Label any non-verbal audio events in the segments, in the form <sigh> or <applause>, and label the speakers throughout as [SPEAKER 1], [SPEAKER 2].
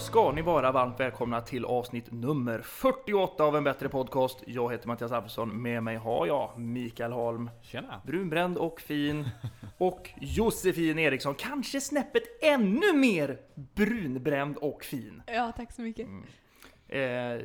[SPEAKER 1] ska ni vara varmt välkomna till avsnitt nummer 48 av En Bättre Podcast. Jag heter Mattias Alfredsson, med mig har jag Mikael Holm.
[SPEAKER 2] Tjena!
[SPEAKER 1] Brunbränd och fin. Och Josefin Eriksson, kanske snäppet ännu mer brunbränd och fin.
[SPEAKER 3] Ja, tack så mycket.
[SPEAKER 2] Mm.
[SPEAKER 1] Eh,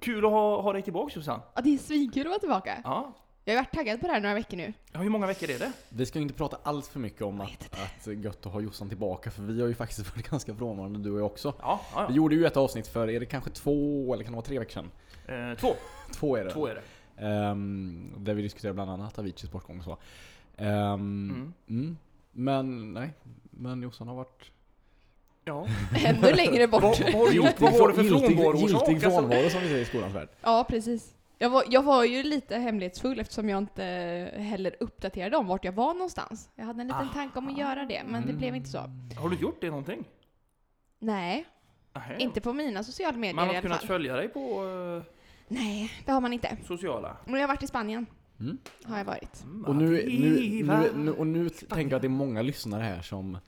[SPEAKER 1] kul att ha, ha dig tillbaka Jossan.
[SPEAKER 3] Ja, det är svinkul att vara tillbaka.
[SPEAKER 1] Ja.
[SPEAKER 3] Jag har varit taggad på det här några
[SPEAKER 2] <laughs>
[SPEAKER 3] veckor nu.
[SPEAKER 1] ja, hur många veckor är det?
[SPEAKER 2] Vi ska ju inte prata alls för mycket om att, att gött att ha Jossan tillbaka för vi har ju faktiskt <laughs> varit ganska frånvarande du och jag också.
[SPEAKER 1] Ja, ja,
[SPEAKER 2] Vi gjorde ju ett avsnitt för, är det kanske två eller kan det vara tre veckor sedan?
[SPEAKER 1] ja. Eh, två.
[SPEAKER 2] Två är det.
[SPEAKER 1] två är det.
[SPEAKER 2] Ehm, där vi diskuterade bland annat Aviciis bortgång och så. Ehm,
[SPEAKER 1] Mm.
[SPEAKER 2] mm. Men nej, men Jossan har varit...
[SPEAKER 1] Ja.
[SPEAKER 3] Ännu längre bort.
[SPEAKER 1] Vad, vad har du gjort? Vad har du för
[SPEAKER 2] giltig,
[SPEAKER 1] frånvaroorsak?
[SPEAKER 2] giltig
[SPEAKER 1] Alltså,
[SPEAKER 2] frånvaro som vi säger i skolans värld.
[SPEAKER 3] Ja, precis. Jag var, jag var ju lite hemlighetsfull eftersom jag inte heller uppdaterade om vart jag var någonstans. Jag hade en liten
[SPEAKER 1] Ah.
[SPEAKER 3] tanke om att göra det, men det
[SPEAKER 1] Mm.
[SPEAKER 3] blev inte så.
[SPEAKER 2] Mm.
[SPEAKER 1] Har du gjort det någonting?
[SPEAKER 3] Nej,
[SPEAKER 1] Nähä.
[SPEAKER 3] inte på mina sociala medier
[SPEAKER 1] Man
[SPEAKER 3] i
[SPEAKER 1] har
[SPEAKER 3] alla
[SPEAKER 1] kunnat
[SPEAKER 3] fall.
[SPEAKER 1] följa dig på eh,
[SPEAKER 3] Nej, det har man inte.
[SPEAKER 1] sociala?
[SPEAKER 3] Men jag har varit i Spanien.
[SPEAKER 2] Mm.
[SPEAKER 3] Har jag varit.
[SPEAKER 1] Mm,
[SPEAKER 2] Och nu, nu,
[SPEAKER 1] Viva.
[SPEAKER 2] nu, nu, och nu tänker jag att det är många lyssnare här som,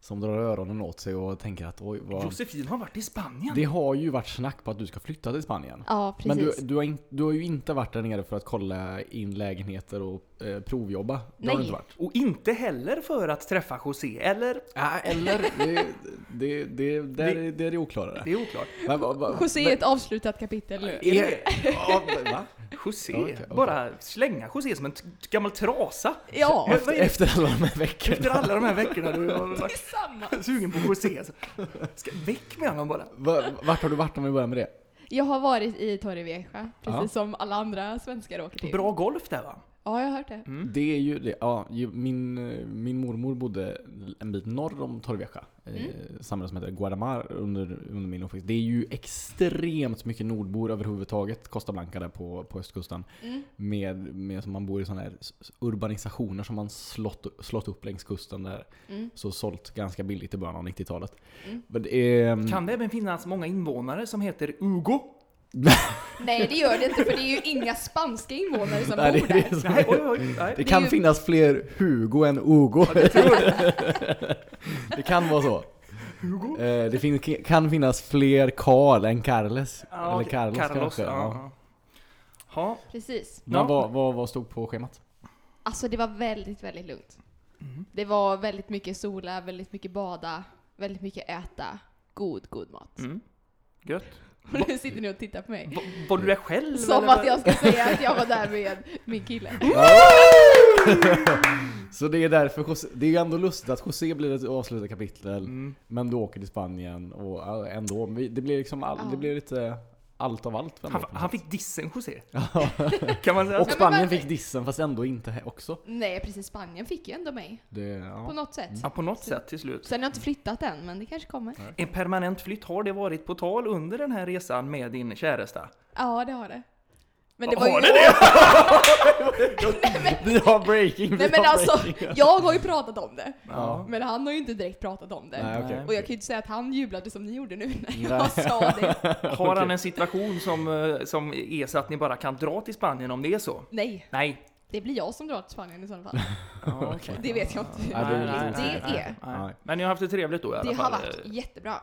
[SPEAKER 2] som drar öronen åt sig och tänker att oj vad...
[SPEAKER 1] Josefin har varit i Spanien.
[SPEAKER 2] Det har ju varit snack på att du ska flytta till Spanien.
[SPEAKER 3] Ja, precis.
[SPEAKER 2] Men du, du, har in, du har ju inte varit där nere för att kolla in lägenheter och eh, provjobba. Det har
[SPEAKER 3] Nej.
[SPEAKER 2] du inte varit.
[SPEAKER 1] Och inte heller för att träffa José, eller?
[SPEAKER 2] Ja, Äh, eller? Det, det, det, där, är- där är det oklarare.
[SPEAKER 1] Det är oklart.
[SPEAKER 2] Men, va, va,
[SPEAKER 3] José är ett avslutat kapitel nu.
[SPEAKER 2] är det? Ja, va?
[SPEAKER 1] José,
[SPEAKER 2] Okej, okej.
[SPEAKER 1] bara slänga José som en t- gammal
[SPEAKER 2] <laughs>
[SPEAKER 1] trasa.
[SPEAKER 3] Ja,
[SPEAKER 2] Efter, efter alla de här
[SPEAKER 1] Efter
[SPEAKER 2] veckorna.
[SPEAKER 1] alla de här veckorna du har
[SPEAKER 3] det
[SPEAKER 1] varit
[SPEAKER 3] är samma.
[SPEAKER 1] sugen på José. alltså. Ska, väck med honom bara.
[SPEAKER 2] Va, vart har du varit om vi börjar med det?
[SPEAKER 3] Jag har varit i Torrevieja, precis
[SPEAKER 2] Ja.
[SPEAKER 3] som alla andra svenskar åker till.
[SPEAKER 1] Bra golf där va?
[SPEAKER 3] Ja, jag har hört det.
[SPEAKER 2] Det är ju det, ja, ju- min, eh, min mormor bodde en bit norr om Torrevieja. Mm. Samhället som heter Guadamar under, under min uppväxt. Det är ju extremt mycket nordbor överhuvudtaget, Costa Blanca där på, på östkusten.
[SPEAKER 3] Mm.
[SPEAKER 2] Med, med som man bor i sådana här s- s- urbanisationer som man slått, slått upp längs kusten där. Så sålt ganska billigt i början av 90-talet. Men det är- mm,
[SPEAKER 1] Kan det även finnas många invånare som heter Hugo?
[SPEAKER 3] Nej, det gör det inte för det är ju inga spanska invånare som
[SPEAKER 2] Nej, det,
[SPEAKER 3] bor
[SPEAKER 2] det,
[SPEAKER 3] där.
[SPEAKER 2] är så-
[SPEAKER 1] Nej, oj, oj,
[SPEAKER 2] <laughs> det
[SPEAKER 1] nej.
[SPEAKER 2] kan
[SPEAKER 3] ju-
[SPEAKER 2] finnas fler Hugo än Ugo. <laughs> det kan vara så.
[SPEAKER 1] Hugo?
[SPEAKER 2] Eh, Det fin kan finnas fler Karl än Carles.
[SPEAKER 1] Ja,
[SPEAKER 2] Eller
[SPEAKER 1] okej.
[SPEAKER 2] Carlos, kanske.
[SPEAKER 1] ja,
[SPEAKER 2] Ja.
[SPEAKER 1] ja. Ja,
[SPEAKER 3] Precis.
[SPEAKER 2] Men
[SPEAKER 1] Ja.
[SPEAKER 2] vad, vad, vad stod på schemat?
[SPEAKER 3] Alltså det var väldigt, väldigt lugnt. Det var väldigt mycket sola, väldigt mycket bada, väldigt mycket äta, god, god mat.
[SPEAKER 1] Mm. Gött.
[SPEAKER 3] Och <laughs> nu sitter ni och tittar på mig.
[SPEAKER 1] Va, var du där själv?
[SPEAKER 3] Som
[SPEAKER 1] eller
[SPEAKER 3] att
[SPEAKER 1] vad-
[SPEAKER 3] jag ska säga att jag var där med min kille.
[SPEAKER 2] <laughs> Så det är därför José, det är ju ändå lustigt att José blir ett avslutat kapitel,
[SPEAKER 1] Mm.
[SPEAKER 2] men du åker till Spanien och ja, ändå. vi- Det blir liksom all,
[SPEAKER 3] Ja.
[SPEAKER 2] det blir lite allt av allt. ändå
[SPEAKER 1] Han,
[SPEAKER 2] på något
[SPEAKER 1] han
[SPEAKER 2] sätt.
[SPEAKER 1] fick dissen
[SPEAKER 2] <laughs>
[SPEAKER 1] José. kan man säga
[SPEAKER 2] Och
[SPEAKER 1] så?
[SPEAKER 2] Spanien
[SPEAKER 3] men-
[SPEAKER 2] fick dissen fast ändå inte he- också.
[SPEAKER 3] Nej, precis. Spanien fick ju ändå mig.
[SPEAKER 2] Det,
[SPEAKER 3] På <laughs>
[SPEAKER 2] ja.
[SPEAKER 3] något sätt.
[SPEAKER 1] Ja, på något sätt till slut.
[SPEAKER 3] Sen har jag inte flyttat än, men det kanske kommer.
[SPEAKER 2] Mm.
[SPEAKER 1] En permanent flytt, har det varit på tal under den här resan med din käresta?
[SPEAKER 3] Ja, det har det. Men det
[SPEAKER 1] Har
[SPEAKER 3] var ju...
[SPEAKER 1] det det?
[SPEAKER 2] <laughs> Vi har breaking! vi
[SPEAKER 3] Nej
[SPEAKER 2] <laughs>
[SPEAKER 3] men
[SPEAKER 2] har
[SPEAKER 3] alltså,
[SPEAKER 2] breaking.
[SPEAKER 3] jag har ju pratat om det.
[SPEAKER 2] <laughs> Ja.
[SPEAKER 3] Men han har ju inte direkt pratat om det.
[SPEAKER 2] Nej, okej.
[SPEAKER 1] Nej.
[SPEAKER 3] Och jag kan ju inte säga att han jublade som ni gjorde nu när jag
[SPEAKER 2] Nej.
[SPEAKER 3] sa
[SPEAKER 2] <laughs>
[SPEAKER 3] det.
[SPEAKER 1] Har han en situation som, eh, som är så att ni bara kan dra till Spanien om det är så?
[SPEAKER 3] Nej,
[SPEAKER 1] Nej.
[SPEAKER 3] det blir jag som drar till Spanien i sådana fall.
[SPEAKER 1] Ja, okej.
[SPEAKER 3] Det vet jag inte.
[SPEAKER 2] Ja, det är lite
[SPEAKER 3] Det
[SPEAKER 2] osäkert.
[SPEAKER 3] är-
[SPEAKER 2] Nej.
[SPEAKER 1] Men ni har haft det trevligt då i alla
[SPEAKER 3] Det har
[SPEAKER 1] fall?
[SPEAKER 2] eh,
[SPEAKER 3] varit jättebra.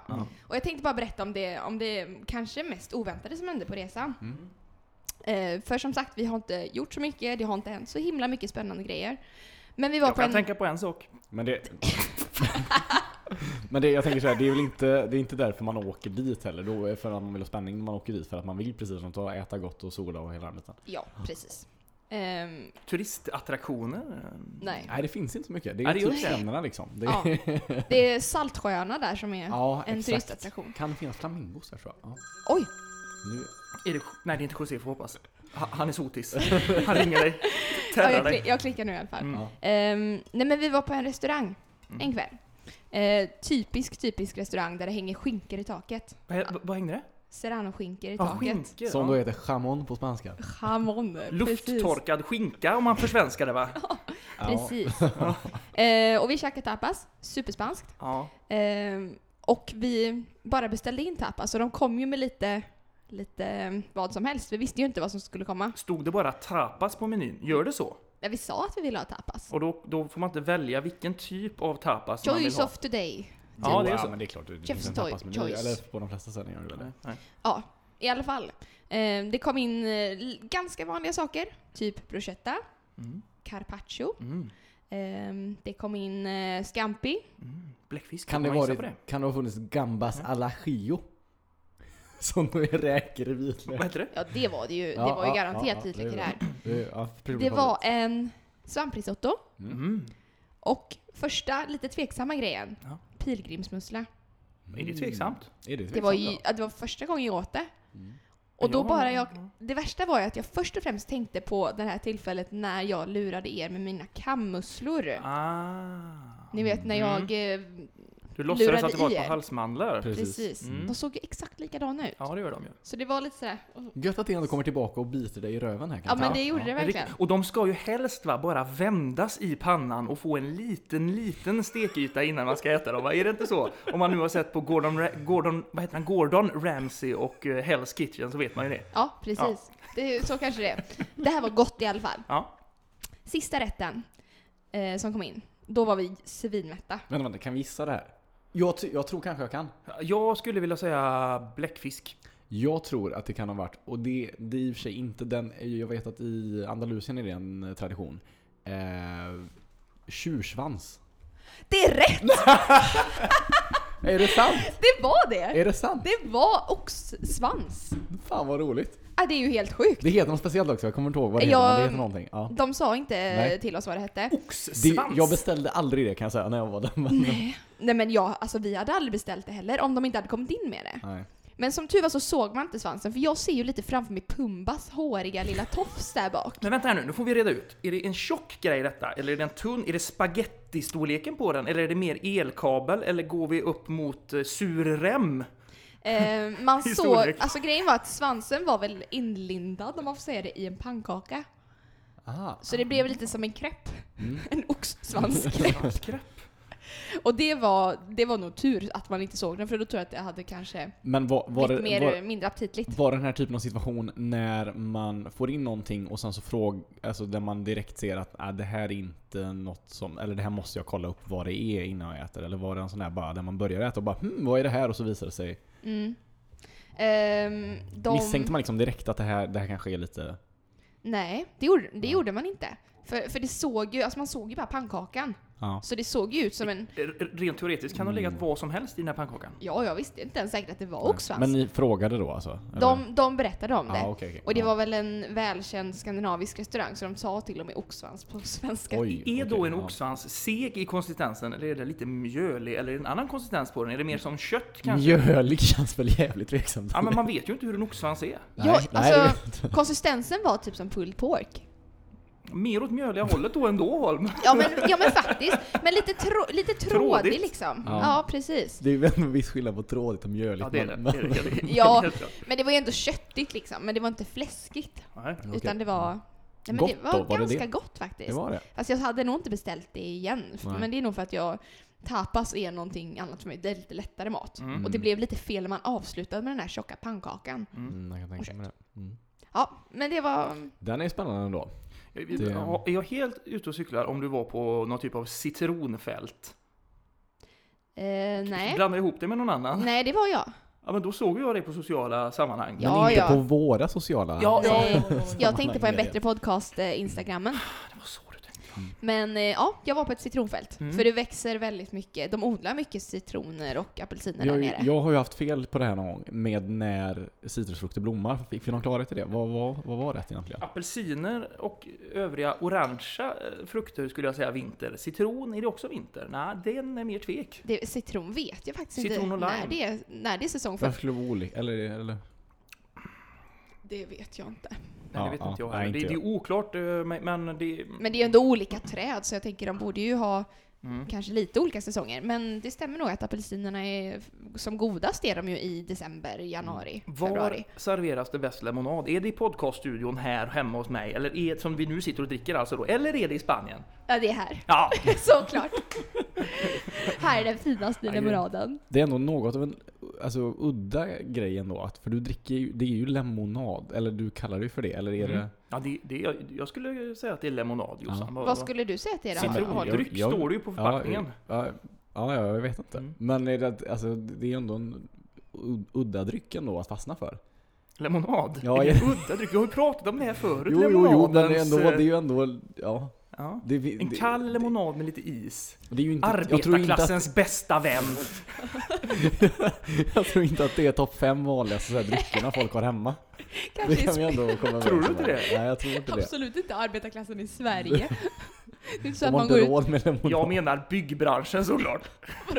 [SPEAKER 3] Och jag tänkte bara berätta om det, om det kanske mest oväntade som hände på resan.
[SPEAKER 2] Mm.
[SPEAKER 3] Eh, för som sagt, vi har inte gjort så mycket, det har inte hänt så himla mycket spännande grejer. Men vi var
[SPEAKER 1] Jag
[SPEAKER 3] på
[SPEAKER 1] kan
[SPEAKER 3] en...
[SPEAKER 1] tänka på en sak.
[SPEAKER 2] Men det... <laughs> Men det, jag tänker så här, det är väl inte, det är inte därför man åker dit heller. Då är det för att man vill ha spänning när man åker dit. För att man vill precis som du äta gott och sola och hela den biten.
[SPEAKER 3] Ja, precis. Ehm,
[SPEAKER 1] Turistattraktioner?
[SPEAKER 3] nej.
[SPEAKER 2] Nej det finns inte så mycket. Det
[SPEAKER 1] Nej,
[SPEAKER 2] är
[SPEAKER 1] det
[SPEAKER 2] typ
[SPEAKER 1] gjorde det.
[SPEAKER 2] stränderna liksom. Det, <laughs>
[SPEAKER 3] Ja. Det är Saltsjöarna där som är
[SPEAKER 2] Ja,
[SPEAKER 3] en
[SPEAKER 2] exakt.
[SPEAKER 3] turistattraktion.
[SPEAKER 2] Kan finnas flamingos där tror jag. Ja.
[SPEAKER 3] Oj!
[SPEAKER 2] Nu,
[SPEAKER 1] Är det, nej, det är inte José får jag hoppas. Ha- Han är sotis. Han ringer dig.
[SPEAKER 3] <laughs> Ja,
[SPEAKER 1] Terrar
[SPEAKER 3] jag,
[SPEAKER 1] dig.
[SPEAKER 3] kli- jag klickar nu i alla fall.
[SPEAKER 1] Mm.
[SPEAKER 2] ja.
[SPEAKER 3] Ehm, nej men vi var på en restaurang en kväll. Eh, typisk, typisk restaurang där det hänger skinkor i taket.
[SPEAKER 1] Vad he- Vad hängde det?
[SPEAKER 3] Serranoskinkor i
[SPEAKER 1] Ja,
[SPEAKER 3] taket.
[SPEAKER 1] skinkor.
[SPEAKER 2] Som
[SPEAKER 1] ja.
[SPEAKER 2] då heter chamon på spanska.
[SPEAKER 3] Jamon. Precis.
[SPEAKER 1] Lufttorkad skinka om man försvenskar det va?
[SPEAKER 3] Precis. <laughs> Eh, och vi käkade tapas. Superspanskt.
[SPEAKER 1] Ja.
[SPEAKER 3] Ehm, och vi bara beställde in tapas och de kom ju med lite, lite vad som helst. Vi visste ju inte vad som skulle komma.
[SPEAKER 1] Stod det bara tapas på menyn? Gör det så?
[SPEAKER 3] Men vi sa att vi ville ha tapas.
[SPEAKER 1] Och då, då får man inte välja vilken typ av tapas man vill
[SPEAKER 3] Choice
[SPEAKER 1] ha.
[SPEAKER 3] of today.
[SPEAKER 1] Ja, det är
[SPEAKER 2] Jo,
[SPEAKER 1] så.
[SPEAKER 2] men det är klart. du- du
[SPEAKER 3] Chef's
[SPEAKER 2] kan
[SPEAKER 3] toy-
[SPEAKER 2] tappas, men det-
[SPEAKER 3] choice.
[SPEAKER 2] Eller på de flesta ställen gör du väl det.
[SPEAKER 1] Nej, nej.
[SPEAKER 3] Ja, i alla fall. Eh, det kom in eh, l- ganska vanliga saker, typ bruschetta,
[SPEAKER 1] Mm.
[SPEAKER 3] carpaccio.
[SPEAKER 1] Mm.
[SPEAKER 3] Eh, det kom in eh, scampi.
[SPEAKER 1] Mm. Bläckfisk,
[SPEAKER 2] Kan det,
[SPEAKER 1] man gissa
[SPEAKER 2] varit,
[SPEAKER 1] på det?
[SPEAKER 2] kan det ha funnits gambas alla chio? <laughs> Som är räkor i
[SPEAKER 1] Vad
[SPEAKER 2] vitlök.
[SPEAKER 1] heter det?
[SPEAKER 3] Ja, det var det ju. Det
[SPEAKER 2] Ja,
[SPEAKER 3] var ju
[SPEAKER 2] ja,
[SPEAKER 3] garanterat
[SPEAKER 2] ja, ja,
[SPEAKER 3] vitlök i
[SPEAKER 2] det
[SPEAKER 3] det här.
[SPEAKER 2] Det, ja,
[SPEAKER 3] Det var en svamprisotto
[SPEAKER 1] Mm.
[SPEAKER 3] och första lite tveksamma grejen,
[SPEAKER 1] Ja.
[SPEAKER 3] pilgrimsmussla.
[SPEAKER 1] Är det
[SPEAKER 3] Mm.
[SPEAKER 1] tveksamt?
[SPEAKER 2] Är det,
[SPEAKER 3] Det var, ju, ja, det var första gången jag åt det. Och då
[SPEAKER 1] Ja, ja,
[SPEAKER 3] bara jag,
[SPEAKER 1] ja.
[SPEAKER 3] det värsta var ju att jag först och främst tänkte på det här tillfället när jag lurade er med mina kammusslor.
[SPEAKER 1] Ah.
[SPEAKER 3] Ni vet när
[SPEAKER 1] Mm.
[SPEAKER 3] jag... eh,
[SPEAKER 1] Du låtsades
[SPEAKER 3] lurade
[SPEAKER 1] att det var
[SPEAKER 3] i
[SPEAKER 1] ett par
[SPEAKER 3] er.
[SPEAKER 1] halsmandlar?
[SPEAKER 2] Precis.
[SPEAKER 3] Precis.
[SPEAKER 1] Mm.
[SPEAKER 3] De såg ju exakt likadana ut.
[SPEAKER 1] Ja, det gör de ju.
[SPEAKER 3] Så det var lite sådär... åh.
[SPEAKER 2] Gött att det ändå kommer tillbaka och biter dig i röven här
[SPEAKER 3] Ja
[SPEAKER 2] kanske.
[SPEAKER 3] men det gjorde
[SPEAKER 1] Ja,
[SPEAKER 3] det
[SPEAKER 1] men
[SPEAKER 3] verkligen.
[SPEAKER 1] riktigt. Och de ska ju helst va, bara vändas i pannan och få en liten, liten stekyta innan man ska äta dem. Va? Är det inte så? Om man nu har sett på Gordon, Ra- Gordon, vad heter han? Gordon Ramsay och eh, Hell's Kitchen så vet man ju det.
[SPEAKER 3] Ja, precis. Det, så kanske det är. Det här var gott i alla fall.
[SPEAKER 1] Ja.
[SPEAKER 3] Sista rätten eh, som kom in, då var vi svinmätta.
[SPEAKER 2] Vänta, vänta, kan vi gissa det här? Jag, ty- jag tror kanske jag kan.
[SPEAKER 1] Jag skulle vilja säga bläckfisk.
[SPEAKER 2] Jag tror att det kan ha varit, och det, det är i och för sig inte den, jag vet att i Andalusien är det en eh, tradition. Eh, tjursvans.
[SPEAKER 3] Det är rätt!
[SPEAKER 2] Är det sant?
[SPEAKER 3] Det var det!
[SPEAKER 2] <laughs> Är det sant?
[SPEAKER 3] Det var oxsvans.
[SPEAKER 2] Fan vad roligt.
[SPEAKER 3] Ah, det är ju helt sjukt.
[SPEAKER 2] Det heter något speciellt också, jag kommer inte ihåg vad det heter. men
[SPEAKER 3] Jag-
[SPEAKER 2] Det heter någonting. Ja.
[SPEAKER 3] De sa inte eh,
[SPEAKER 2] Nej.
[SPEAKER 3] till oss vad det hette.
[SPEAKER 2] Det,
[SPEAKER 1] Svans!
[SPEAKER 2] jag beställde aldrig det kan jag säga när jag var där. Men,
[SPEAKER 3] Nej. Nej men jag, alltså vi hade aldrig beställt det heller om de inte hade kommit in med det.
[SPEAKER 2] nej.
[SPEAKER 3] Men som tur var så såg man inte svansen för jag ser ju lite framför mig Pumbas håriga lilla tofs där bak.
[SPEAKER 1] Men vänta här nu, nu får vi reda ut. Är det en tjock grej detta? Eller är det en tunn? Är det spagettistorleken på den? Eller är det mer elkabel? Eller går vi upp mot eh, surrem?
[SPEAKER 3] Eh,
[SPEAKER 2] <laughs>
[SPEAKER 3] man
[SPEAKER 1] I
[SPEAKER 3] såg,
[SPEAKER 1] storlek.
[SPEAKER 3] alltså grejen var att svansen var väl inlindad om man får säga det i en pannkaka.
[SPEAKER 2] Aha.
[SPEAKER 3] Så det blev lite som en crepe.
[SPEAKER 2] Mm.
[SPEAKER 3] <laughs> En
[SPEAKER 2] <laughs>
[SPEAKER 3] oxsvanskrepp.
[SPEAKER 1] Svanskräpp?
[SPEAKER 3] Och det var, det var nog tur att man inte såg den för då tror jag att det hade kanske
[SPEAKER 2] Men var, var,
[SPEAKER 3] blivit
[SPEAKER 2] det,
[SPEAKER 3] mer,
[SPEAKER 2] var,
[SPEAKER 3] mindre aptitligt.
[SPEAKER 2] var den här typen av situation när man får in någonting och sen så fråg, alltså där man direkt ser att äh, det här är inte något som, eller det här måste jag kolla upp vad det är innan jag äter. Eller var det en sån där bara där man börjar äta och bara hm, vad är det här? Och så visar det sig.
[SPEAKER 3] Mm. Ehm, de,
[SPEAKER 2] Misstänkte man liksom direkt att det här, det här kanske är lite...
[SPEAKER 3] Nej, det gjorde, det gjorde man inte. För, för det såg ju, alltså man såg ju bara pannkakan.
[SPEAKER 2] Ja.
[SPEAKER 3] Så det såg ju ut som en,
[SPEAKER 1] Eh, R- r- Rent teoretiskt kan det ha legat vad som helst i den här pannkakan.
[SPEAKER 3] ja jag visste inte ens säkert att det var oxsvans.
[SPEAKER 2] Men ni frågade då alltså? eller?
[SPEAKER 3] de, de berättade om det.
[SPEAKER 2] ah, okay, okay.
[SPEAKER 3] Och det
[SPEAKER 2] Ja.
[SPEAKER 3] var väl en välkänd skandinavisk restaurang så de sa till och med oxsvans på svenska.
[SPEAKER 2] Oj,
[SPEAKER 1] Är då
[SPEAKER 2] okej,
[SPEAKER 1] en
[SPEAKER 2] ja.
[SPEAKER 1] oxsvans seg i konsistensen eller är det lite mjölig eller är det en annan konsistens på den? Är det mer som kött kanske?
[SPEAKER 2] Mjölig känns väl jävligt tveksamt.
[SPEAKER 1] Ja men man vet ju inte hur en oxsvans är.
[SPEAKER 3] Ja, alltså-
[SPEAKER 2] det vet jag <laughs> inte.
[SPEAKER 3] Konsistensen var typ som pulled pork.
[SPEAKER 1] Mer åt mjöliga hållet då ändå Holm.
[SPEAKER 3] Ja men, ja, men faktiskt. Men lite, trå, lite trådig
[SPEAKER 1] Trådigt.
[SPEAKER 3] liksom. Ja.
[SPEAKER 2] Ja. <laughs>
[SPEAKER 3] precis.
[SPEAKER 2] Det är väl en viss skillnad på trådigt och mjöligt.
[SPEAKER 1] Ja det är det.
[SPEAKER 2] men-
[SPEAKER 1] det, är det, det, är det,
[SPEAKER 3] Ja.
[SPEAKER 1] helt klart.
[SPEAKER 3] Men det var ju ändå köttigt liksom. Men det var inte fläskigt.
[SPEAKER 1] Nej.
[SPEAKER 2] Okej.
[SPEAKER 3] Utan det var... Nej, men
[SPEAKER 2] Gott
[SPEAKER 3] det var,
[SPEAKER 2] då, var det
[SPEAKER 3] ganska
[SPEAKER 2] det?
[SPEAKER 3] gott
[SPEAKER 2] <laughs>
[SPEAKER 3] faktiskt.
[SPEAKER 2] det var det.
[SPEAKER 3] Fast jag hade nog inte beställt det igen.
[SPEAKER 2] Nej.
[SPEAKER 3] Men det är nog för att jag tapas är någonting annat för mig. Det är lite lättare mat.
[SPEAKER 1] Mm.
[SPEAKER 3] Och det blev lite fel när man avslutade med den här tjocka pannkakan.
[SPEAKER 2] Mm, jag kan tänka mig det. Mm.
[SPEAKER 3] Ja, men det var...
[SPEAKER 2] Den är spännande ändå. Det-
[SPEAKER 1] Är jag helt ute och cyklar om du var på någon typ av citronfält?
[SPEAKER 3] Eh, nej.
[SPEAKER 1] Blanda ihop det med någon annan?
[SPEAKER 3] Nej, det var jag.
[SPEAKER 1] Ja men då såg jag dig på sociala sammanhang.
[SPEAKER 3] Ja,
[SPEAKER 2] Men inte
[SPEAKER 3] ja.
[SPEAKER 2] på våra sociala...
[SPEAKER 1] Ja, ja,
[SPEAKER 3] Nej.
[SPEAKER 1] ja, ja, ja.
[SPEAKER 3] Eh, Jag tänkte på en bättre podcast, eh, Instagrammen.
[SPEAKER 1] Det var så du tänkte.
[SPEAKER 3] Men eh, ja, jag var på ett citronfält.
[SPEAKER 1] Mm.
[SPEAKER 3] För det växer väldigt mycket. De odlar mycket citroner och apelsiner där
[SPEAKER 2] Jag,
[SPEAKER 3] nere.
[SPEAKER 2] jag har ju haft fel på det här någon gång med när citrusfrukter blommar. Fick vi någon klarhet i det? Vad, vad, vad var rätt egentligen?
[SPEAKER 1] Apelsiner och övriga orangea eh, frukter skulle jag säga vinter. Citron, är det också vinter? Nej, den är mer tvek.
[SPEAKER 3] Det, citron vet jag faktiskt
[SPEAKER 1] Citron och
[SPEAKER 3] inte
[SPEAKER 1] lime.
[SPEAKER 3] när det, är, när det är säsong för.
[SPEAKER 2] Varför skulle det vara olika? Eller, eller?
[SPEAKER 3] Det vet jag inte.
[SPEAKER 1] Nej,
[SPEAKER 2] Ja,
[SPEAKER 1] det vet
[SPEAKER 2] ja.
[SPEAKER 1] inte jag
[SPEAKER 2] Nej,
[SPEAKER 1] heller. det,
[SPEAKER 2] inte
[SPEAKER 1] det är oklart, eh, men men det...
[SPEAKER 3] Men det är ju ändå olika träd så jag tänker de borde ju ha
[SPEAKER 1] Mm.
[SPEAKER 3] kanske lite olika säsonger. Men det stämmer nog att apelsinerna är som godast är de ju i december, januari,
[SPEAKER 1] Mm. Var
[SPEAKER 3] februari.
[SPEAKER 1] serveras det bäst lemonad? Är det i podcaststudion här hemma hos mig? Eller är det som vi nu sitter och dricker alltså då? Eller är det i Spanien?
[SPEAKER 3] Ja, det är här. <laughs>
[SPEAKER 1] Ja,
[SPEAKER 3] Såklart. här är den finaste
[SPEAKER 1] Aj, ja.
[SPEAKER 3] lemonaden.
[SPEAKER 2] Det är ändå något av en alltså, udda grej ändå. Att, för du dricker ju, det är ju lemonad. Eller du kallar det ju för det. Eller är det...
[SPEAKER 1] ja det, det, jag- jag skulle säga att det är lemonad Jossan.
[SPEAKER 2] Ja.
[SPEAKER 1] Vad-
[SPEAKER 3] Vad skulle du säga till det?
[SPEAKER 2] Citron.
[SPEAKER 3] Holm?
[SPEAKER 1] Citrondryck
[SPEAKER 2] Jag-
[SPEAKER 1] står det ju på förpackningen.
[SPEAKER 2] Ja, ja, Ja, ja, jag vet inte.
[SPEAKER 1] Mm.
[SPEAKER 2] Men är det, att- alltså, det är ju ändå en u- udda dryck ändå att fastna för.
[SPEAKER 1] Lemonad?
[SPEAKER 2] Ja,
[SPEAKER 1] Ja, Udda dryck, vi har ju pratat om det här förut.
[SPEAKER 2] Jo, jo, jo, men det är
[SPEAKER 1] lemonadens,
[SPEAKER 2] ändå, det är
[SPEAKER 1] eh,
[SPEAKER 2] ju ändå, ja.
[SPEAKER 1] ja.
[SPEAKER 2] Det, vi-
[SPEAKER 1] En
[SPEAKER 2] det-
[SPEAKER 1] kall lemonad med lite is.
[SPEAKER 2] det, det är ju inte, jag, tror inte att,
[SPEAKER 1] Arbetarklassens bästa vän.
[SPEAKER 2] <laughs> jag tror inte att det är topp fem vanligaste så här dryckerna folk har hemma. Det
[SPEAKER 3] Kanske i
[SPEAKER 2] kan vi
[SPEAKER 3] Sverige.
[SPEAKER 2] ändå komma överens
[SPEAKER 1] Tror du
[SPEAKER 2] om
[SPEAKER 1] inte
[SPEAKER 2] här.
[SPEAKER 1] det?
[SPEAKER 2] Nej, jag tror inte det.
[SPEAKER 3] Absolut inte arbetarklassen i <laughs> Sverige. Det är inte så
[SPEAKER 2] De
[SPEAKER 3] att
[SPEAKER 2] har
[SPEAKER 3] man går
[SPEAKER 2] inte
[SPEAKER 3] ut
[SPEAKER 2] råd med lemonad.
[SPEAKER 1] Jag menar byggbranschen såklart. <laughs>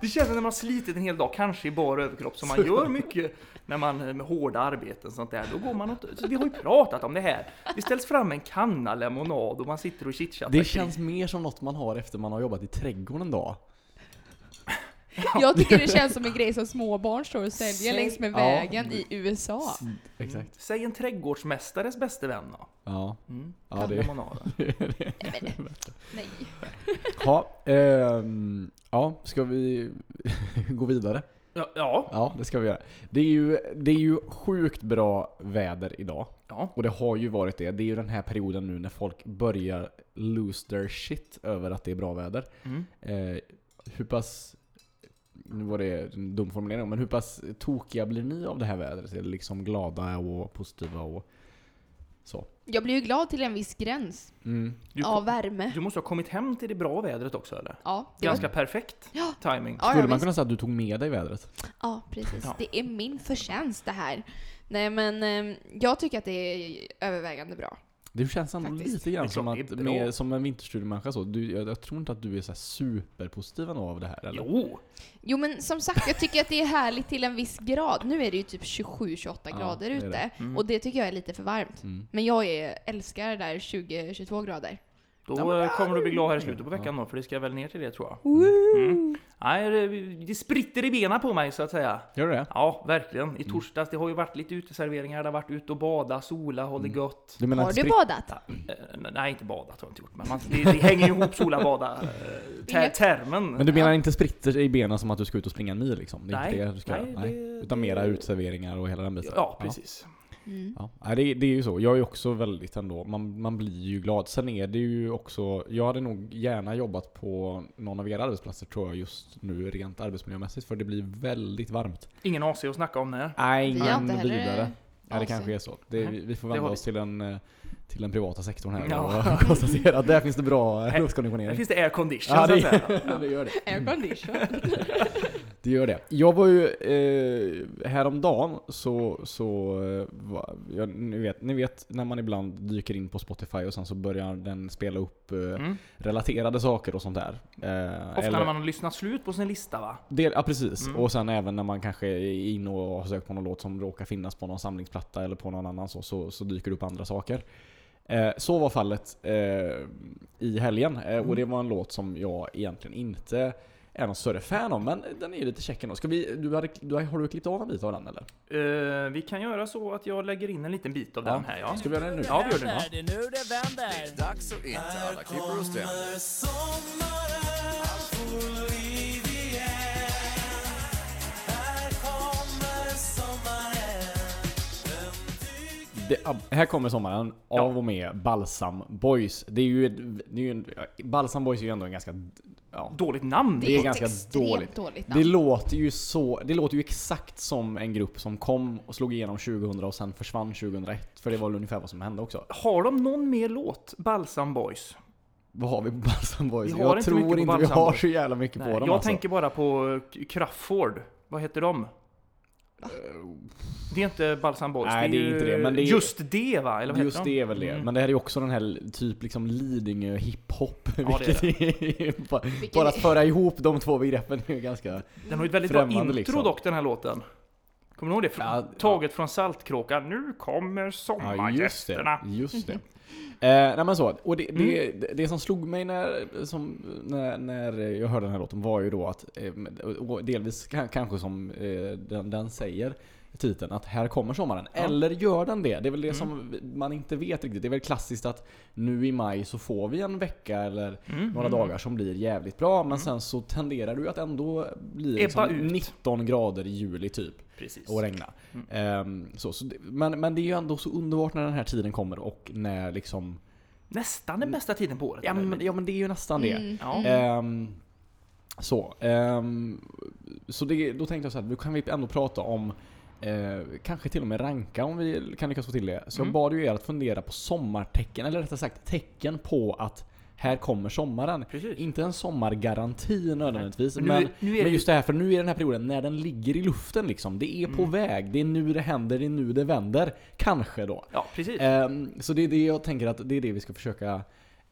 [SPEAKER 1] Det känns som när man har slitit en hel dag, kanske i bara överkropp, som man gör mycket när man eh, med hårda arbeten och sånt där. Då går man åt, så vi har ju pratat om det här. Det ställs fram en kanna lemonad och man sitter och chitchattar.
[SPEAKER 2] Det
[SPEAKER 1] kring-
[SPEAKER 2] känns mer som något man har efter man har jobbat i trädgården en dag.
[SPEAKER 3] Jag tycker det känns som en grej som småbarn står och
[SPEAKER 1] Säg-
[SPEAKER 3] säljer längs med
[SPEAKER 2] Ja.
[SPEAKER 3] vägen <laughs> i USA.
[SPEAKER 1] Mm. Säg en trädgårdsmästares bäste vän då.
[SPEAKER 2] Ja, <laughs>
[SPEAKER 1] Mm.
[SPEAKER 2] ja det
[SPEAKER 1] Lemonaden.
[SPEAKER 3] <laughs> Nej.
[SPEAKER 2] ja, ehm, ja, ska vi <laughs> gå vidare?
[SPEAKER 1] Ja, ja,
[SPEAKER 2] Ja, det ska vi göra. Det är ju, det är ju sjukt bra väder idag.
[SPEAKER 1] ja.
[SPEAKER 2] Och det har ju varit det. Det är ju den här perioden nu när folk börjar lose their shit över att det är bra väder.
[SPEAKER 1] Mm.
[SPEAKER 2] Eh, hur pass... Nu var det en dum formulering, men hur pass tokiga blir ni av det här vädret? Är det liksom glada och positiva och så?
[SPEAKER 3] Jag blir ju glad till en viss gräns
[SPEAKER 2] Mm.
[SPEAKER 1] Du,
[SPEAKER 3] av värme.
[SPEAKER 1] du måste ha kommit hem till det bra vädret också eller?
[SPEAKER 3] Ja, det var,
[SPEAKER 1] Ganska perfekt
[SPEAKER 3] Ja.
[SPEAKER 1] timing.
[SPEAKER 3] ja,
[SPEAKER 2] Skulle
[SPEAKER 3] ja,
[SPEAKER 2] man
[SPEAKER 3] visst.
[SPEAKER 2] kunna säga att du tog med dig vädret?
[SPEAKER 3] ja, precis.
[SPEAKER 1] Ja.
[SPEAKER 3] Det är min förtjänst det här. Nej men eh, jag tycker att det är övervägande bra.
[SPEAKER 2] Det känns ändå
[SPEAKER 3] Faktiskt.
[SPEAKER 2] lite
[SPEAKER 1] Det
[SPEAKER 2] grann
[SPEAKER 1] är
[SPEAKER 2] som,
[SPEAKER 1] klart det
[SPEAKER 2] att,
[SPEAKER 1] är bra.
[SPEAKER 2] med, som en vinterstudiemänniska så. Du, jag, jag tror inte att du är så här superpositiv ändå av det här eller?
[SPEAKER 1] Jo,
[SPEAKER 3] Jo men som sagt, jag tycker att det är härligt till en viss grad. Nu är det ju typ 27-28
[SPEAKER 2] Ja,
[SPEAKER 3] grader
[SPEAKER 2] det är
[SPEAKER 3] ute
[SPEAKER 2] det.
[SPEAKER 1] Mm.
[SPEAKER 3] och det tycker jag är lite för varmt.
[SPEAKER 2] Mm.
[SPEAKER 3] Men jag är, älskar det där 20-22 grader.
[SPEAKER 1] då eh, kommer du bli glad här i slutet på veckan då, för det ska väl ner till det tror jag. Mm. Nej, det- det spritter i benen på mig så att säga.
[SPEAKER 2] Gör du det?
[SPEAKER 1] Ja, verkligen. I
[SPEAKER 2] Mm.
[SPEAKER 1] torsdags, det har ju varit lite uteserveringar, det har varit ut och bada, sola, håll
[SPEAKER 2] Mm.
[SPEAKER 1] det gött.
[SPEAKER 2] Du menar
[SPEAKER 3] Har
[SPEAKER 2] att
[SPEAKER 3] du
[SPEAKER 2] spritt-
[SPEAKER 3] badat?
[SPEAKER 1] Eh, nej, inte badat har jag inte gjort, men man, det, det hänger ju ihop sola, bada, eh, ter, termen.
[SPEAKER 2] Men du menar inte spritter i benen som att du ska ut och springa en mil liksom? Det är
[SPEAKER 1] Nej,
[SPEAKER 2] inte det du ska
[SPEAKER 1] nej,
[SPEAKER 2] göra? Nej.
[SPEAKER 1] det-
[SPEAKER 2] Utan mera utserveringar och hela den biten?
[SPEAKER 1] Ja, precis.
[SPEAKER 2] <laughs>
[SPEAKER 3] Mm.
[SPEAKER 2] Ja, nej, det, det är ju så. Jag är också väldigt ändå, man, man blir ju glad. Sen är det ju också, jag hade nog gärna jobbat på någon av era arbetsplatser tror jag just nu rent arbetsmiljömässigt för det blir väldigt varmt.
[SPEAKER 1] Ingen AC att snacka om där.
[SPEAKER 2] Nej,
[SPEAKER 3] Vi har inte heller
[SPEAKER 2] Ja, det
[SPEAKER 3] AC.
[SPEAKER 2] kanske är så. Det, vi vi får
[SPEAKER 1] det
[SPEAKER 2] vända
[SPEAKER 1] har vi.
[SPEAKER 2] oss till den, eh, till den privata sektorn här
[SPEAKER 1] Ja.
[SPEAKER 2] och <laughs> konstatera att där finns det <laughs> bra eh,
[SPEAKER 1] Här-
[SPEAKER 2] luftkonditionering.
[SPEAKER 1] Där finns det aircondition
[SPEAKER 2] Ja,
[SPEAKER 1] så
[SPEAKER 2] det,
[SPEAKER 1] att säga.
[SPEAKER 2] ja, det gör det.
[SPEAKER 3] Aircondition.
[SPEAKER 2] Det gör det. Jag var ju eh, häromdagen så, så eh, va, jag, ni, vet, ni vet när man ibland dyker in på Spotify och sen så börjar den spela upp eh,
[SPEAKER 1] Mm.
[SPEAKER 2] relaterade saker och sånt där. Eh,
[SPEAKER 1] Ofta
[SPEAKER 2] eller-
[SPEAKER 1] när man har lyssnat slut på sin lista va?
[SPEAKER 2] Del, ja precis,
[SPEAKER 1] Mm.
[SPEAKER 2] och sen även när man kanske är inne och har sökt på någon låt som råkar finnas på någon samlingsplatta eller på någon annan så, så, så dyker det upp andra saker. Eh, så var fallet eh, i helgen eh, och det var en låt som jag egentligen inte är någon större fan av men den är ju lite check ändå. Ska vi, du hade, du, har- har du klippt av en bit av den eller?
[SPEAKER 1] Eh, vi kan göra så att jag lägger in en liten bit av den här ja.
[SPEAKER 2] Ska vi göra det nu?
[SPEAKER 1] Ja, vi gör det.
[SPEAKER 4] Det är nu det vänder.
[SPEAKER 5] Dags att inte alla klipper och stämmer.
[SPEAKER 2] Det, ab- här kommer sommaren av och med Balsam Boys. Det är ju, ett- det är ju en, Balsam Boys är ju ändå en ganska... Ja,
[SPEAKER 1] Dåligt namn.
[SPEAKER 2] Det är
[SPEAKER 3] ett
[SPEAKER 2] ganska
[SPEAKER 3] extremt
[SPEAKER 2] dåligt.
[SPEAKER 3] dåligt
[SPEAKER 2] Det
[SPEAKER 3] namn.
[SPEAKER 2] låter ju så, det låter ju exakt som en grupp som kom och slog igenom 2000 och sen försvann 2001. För det var väl ungefär vad som hände också.
[SPEAKER 1] Har de någon mer låt? Balsam Boys?
[SPEAKER 2] Vad har vi på Balsam Boys?
[SPEAKER 1] Vi har
[SPEAKER 2] Jag
[SPEAKER 1] inte mycket
[SPEAKER 2] tror
[SPEAKER 1] på
[SPEAKER 2] inte vi
[SPEAKER 1] Balsam
[SPEAKER 2] har
[SPEAKER 1] Boys.
[SPEAKER 2] så jävla mycket
[SPEAKER 1] Nej,
[SPEAKER 2] på dem
[SPEAKER 1] jag
[SPEAKER 2] alltså.
[SPEAKER 1] tänker bara på eh, K- Crafoord. Vad heter de? Det är inte Balsam Boys.
[SPEAKER 2] Nej, det är
[SPEAKER 1] ju
[SPEAKER 2] inte det, men det är-
[SPEAKER 1] Just det va? Eller vad
[SPEAKER 2] Just
[SPEAKER 1] heter de?
[SPEAKER 2] det är väl det.
[SPEAKER 1] Mm.
[SPEAKER 2] Men det här är ju också den här typ liksom Lidingö hiphop.
[SPEAKER 1] är
[SPEAKER 2] vilket är bara,
[SPEAKER 3] Vilket
[SPEAKER 2] bara
[SPEAKER 3] är-
[SPEAKER 2] att föra ihop de två begreppen är ju ganska...
[SPEAKER 1] Den har ju ett väldigt bra
[SPEAKER 2] Främmande,
[SPEAKER 1] intro
[SPEAKER 2] liksom.
[SPEAKER 1] dock den här låten. Kommer du ihåg det? Fr-
[SPEAKER 2] Ja,
[SPEAKER 1] Taget från Saltkråkan. Nu kommer
[SPEAKER 2] Ja, just
[SPEAKER 1] sommargästerna.
[SPEAKER 2] det. Just det. Eh, nej men så, och det, det, det som slog mig när, som, när, när jag hörde den här låten var ju då att, eh, och delvis ka- kanske som eh, den, den säger, titeln, att här kommer sommaren. Eller gör den det? Det är väl det som man inte vet riktigt. Det är väl klassiskt att nu i maj så får vi en vecka eller några dagar som blir jävligt bra, men sen så tenderar du att ändå bli liksom
[SPEAKER 1] ut.
[SPEAKER 2] 19 grader i juli typ
[SPEAKER 1] Precis.
[SPEAKER 2] och regna. Ehm, så, så det, men, men det är ju ändå så underbart när den här tiden kommer och när liksom...
[SPEAKER 1] Nästan den bästa tiden på året.
[SPEAKER 2] Ja Mm.
[SPEAKER 1] eller?
[SPEAKER 3] Mm.
[SPEAKER 2] men, ja, men det är ju nästan det.
[SPEAKER 1] ja.
[SPEAKER 2] Ehm, Så, ehm, så det, då tänkte jag så här, nu kan vi ändå prata om Eh, kanske till och med ranka om vi kan lyckas få till det. Så
[SPEAKER 1] Mm.
[SPEAKER 2] jag bad ju er att fundera på sommartecken, eller rättare sagt tecken på att här kommer sommaren.
[SPEAKER 1] Precis.
[SPEAKER 2] Inte en sommargaranti nödvändigtvis,
[SPEAKER 1] Men nu-
[SPEAKER 2] Mm, men,
[SPEAKER 1] nu är det
[SPEAKER 2] men
[SPEAKER 1] ju- Mm.
[SPEAKER 2] just det här, för nu är den här perioden när den ligger i luften liksom. Det är på väg, det är nu det händer, det är nu det vänder. Kanske då.
[SPEAKER 1] Ja, precis.
[SPEAKER 2] Ehm, så det är det jag tänker att det är det vi ska försöka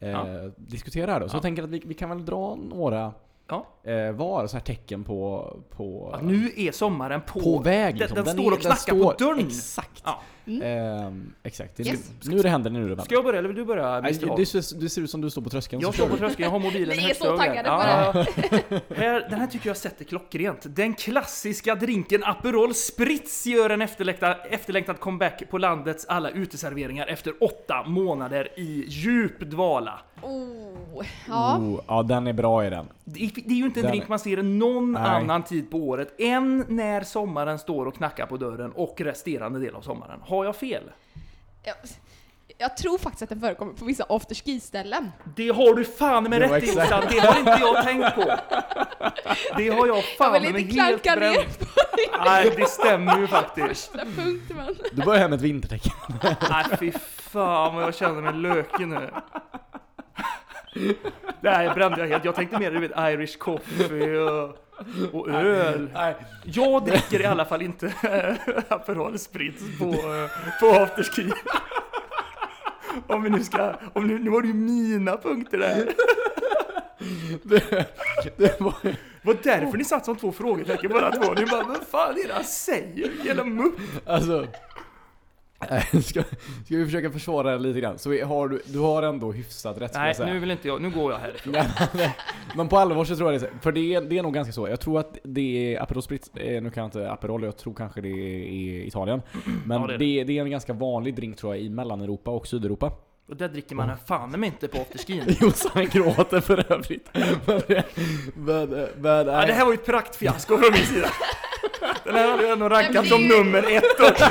[SPEAKER 2] eh,
[SPEAKER 1] Ja.
[SPEAKER 2] diskutera här då. Så
[SPEAKER 1] Ja.
[SPEAKER 2] jag tänker att vi, vi kan väl dra några
[SPEAKER 1] Ja.
[SPEAKER 2] eh, var så här tecken på... på
[SPEAKER 1] Att nu är sommaren på.
[SPEAKER 2] Mm. på väg
[SPEAKER 1] Den-
[SPEAKER 2] liksom.
[SPEAKER 1] Den,
[SPEAKER 2] är-
[SPEAKER 1] står och knackar på
[SPEAKER 2] står-
[SPEAKER 1] dörren.
[SPEAKER 2] Exakt.
[SPEAKER 1] Ja.
[SPEAKER 2] Ehm, exakt. Det är
[SPEAKER 3] Yes.
[SPEAKER 2] nu, nu det händer, nu det
[SPEAKER 1] Ska
[SPEAKER 2] vänder.
[SPEAKER 1] jag börja eller vill du börja?
[SPEAKER 2] Nej,
[SPEAKER 1] Mr. Hall?
[SPEAKER 2] det, ser, det ser ut som du står på tröskeln.
[SPEAKER 1] Jag
[SPEAKER 2] så
[SPEAKER 1] står
[SPEAKER 2] kör
[SPEAKER 1] på
[SPEAKER 2] vi.
[SPEAKER 1] tröskeln, jag har mobilen
[SPEAKER 3] Ni
[SPEAKER 1] i
[SPEAKER 3] är
[SPEAKER 1] högsta
[SPEAKER 3] så
[SPEAKER 1] hugg här.
[SPEAKER 3] taggade
[SPEAKER 1] ja. <laughs> Här, Den här tycker jag sätter klockrent. Den klassiska drinken Aperol Spritz gör en efterlängtad, efterlängtad comeback på landets alla uteserveringar efter åtta månader i djup dvala.
[SPEAKER 3] Oh, ja.
[SPEAKER 2] Oh, ja, den är bra i den.
[SPEAKER 1] Det är, det är ju inte en
[SPEAKER 2] Den-
[SPEAKER 1] drink man ser någon
[SPEAKER 2] Nej.
[SPEAKER 1] annan tid på året än när sommaren står och knackar på dörren och resterande del av sommaren. Har jag fel?
[SPEAKER 3] Jag, jag tror faktiskt att den förekommer på vissa afterski-ställen.
[SPEAKER 1] Det har du fan med
[SPEAKER 2] Det var
[SPEAKER 1] rätt i
[SPEAKER 2] exakt-
[SPEAKER 1] Jossan, det har inte jag tänkt på! Det har jag
[SPEAKER 3] Jag
[SPEAKER 1] fan
[SPEAKER 3] vill
[SPEAKER 1] med
[SPEAKER 3] inte
[SPEAKER 1] helt
[SPEAKER 3] klanka
[SPEAKER 1] bränt.
[SPEAKER 3] ner på
[SPEAKER 1] Nej, det stämmer ju faktiskt.
[SPEAKER 3] första punkt,
[SPEAKER 2] <laughs>
[SPEAKER 3] men...
[SPEAKER 2] Du börjar hem med ett vintertecken.
[SPEAKER 1] Nej fy fan vad jag känner mig lökig nu. Nej, jag brände jag helt. Jag tänkte mer du vet Irish coffee och, och öl.
[SPEAKER 2] <laughs> Nej.
[SPEAKER 1] Jag dricker i alla fall inte <laughs> Aperol Spritz på, eh, på afterski. Om vi nu ska, om nu, nu var det ju mina punkter där.
[SPEAKER 2] Det, det var,
[SPEAKER 1] Det var därför ni satt som två frågetecken båda två. Ni bara, vad fan är det han säger? Jävla mupp.
[SPEAKER 2] alltså... <laughs> eh, Ska, ska vi försöka försvara det lite grann? Så vi har, du, du har ändå hyfsat rätt skulle
[SPEAKER 1] Nej,
[SPEAKER 2] jag säga.
[SPEAKER 1] nu vill inte jag, nu går jag här.
[SPEAKER 2] Nej, men- <laughs> Men på allvar så tror jag det är så- För det är, det är nog ganska så. Jag tror att det är Aperol Spritz, eh, nu kan jag inte Aperol, jag tror kanske det
[SPEAKER 1] <clears throat>
[SPEAKER 2] är Italien. Men
[SPEAKER 1] Ja, det
[SPEAKER 2] det,
[SPEAKER 1] är det.
[SPEAKER 2] är det. är en ganska vanlig drink tror jag i Mellaneuropa och Sydeuropa. <laughs>
[SPEAKER 1] Och där dricker man fan mig inte på afterskin.
[SPEAKER 2] Jossan gråter för övrigt. <laughs> Men, eh, men, eh, men,
[SPEAKER 1] Ja, det här var ju ett praktfiasko från min sida. Den här hade jag ändå rankat som
[SPEAKER 3] Nej, men-
[SPEAKER 1] nummer ett också.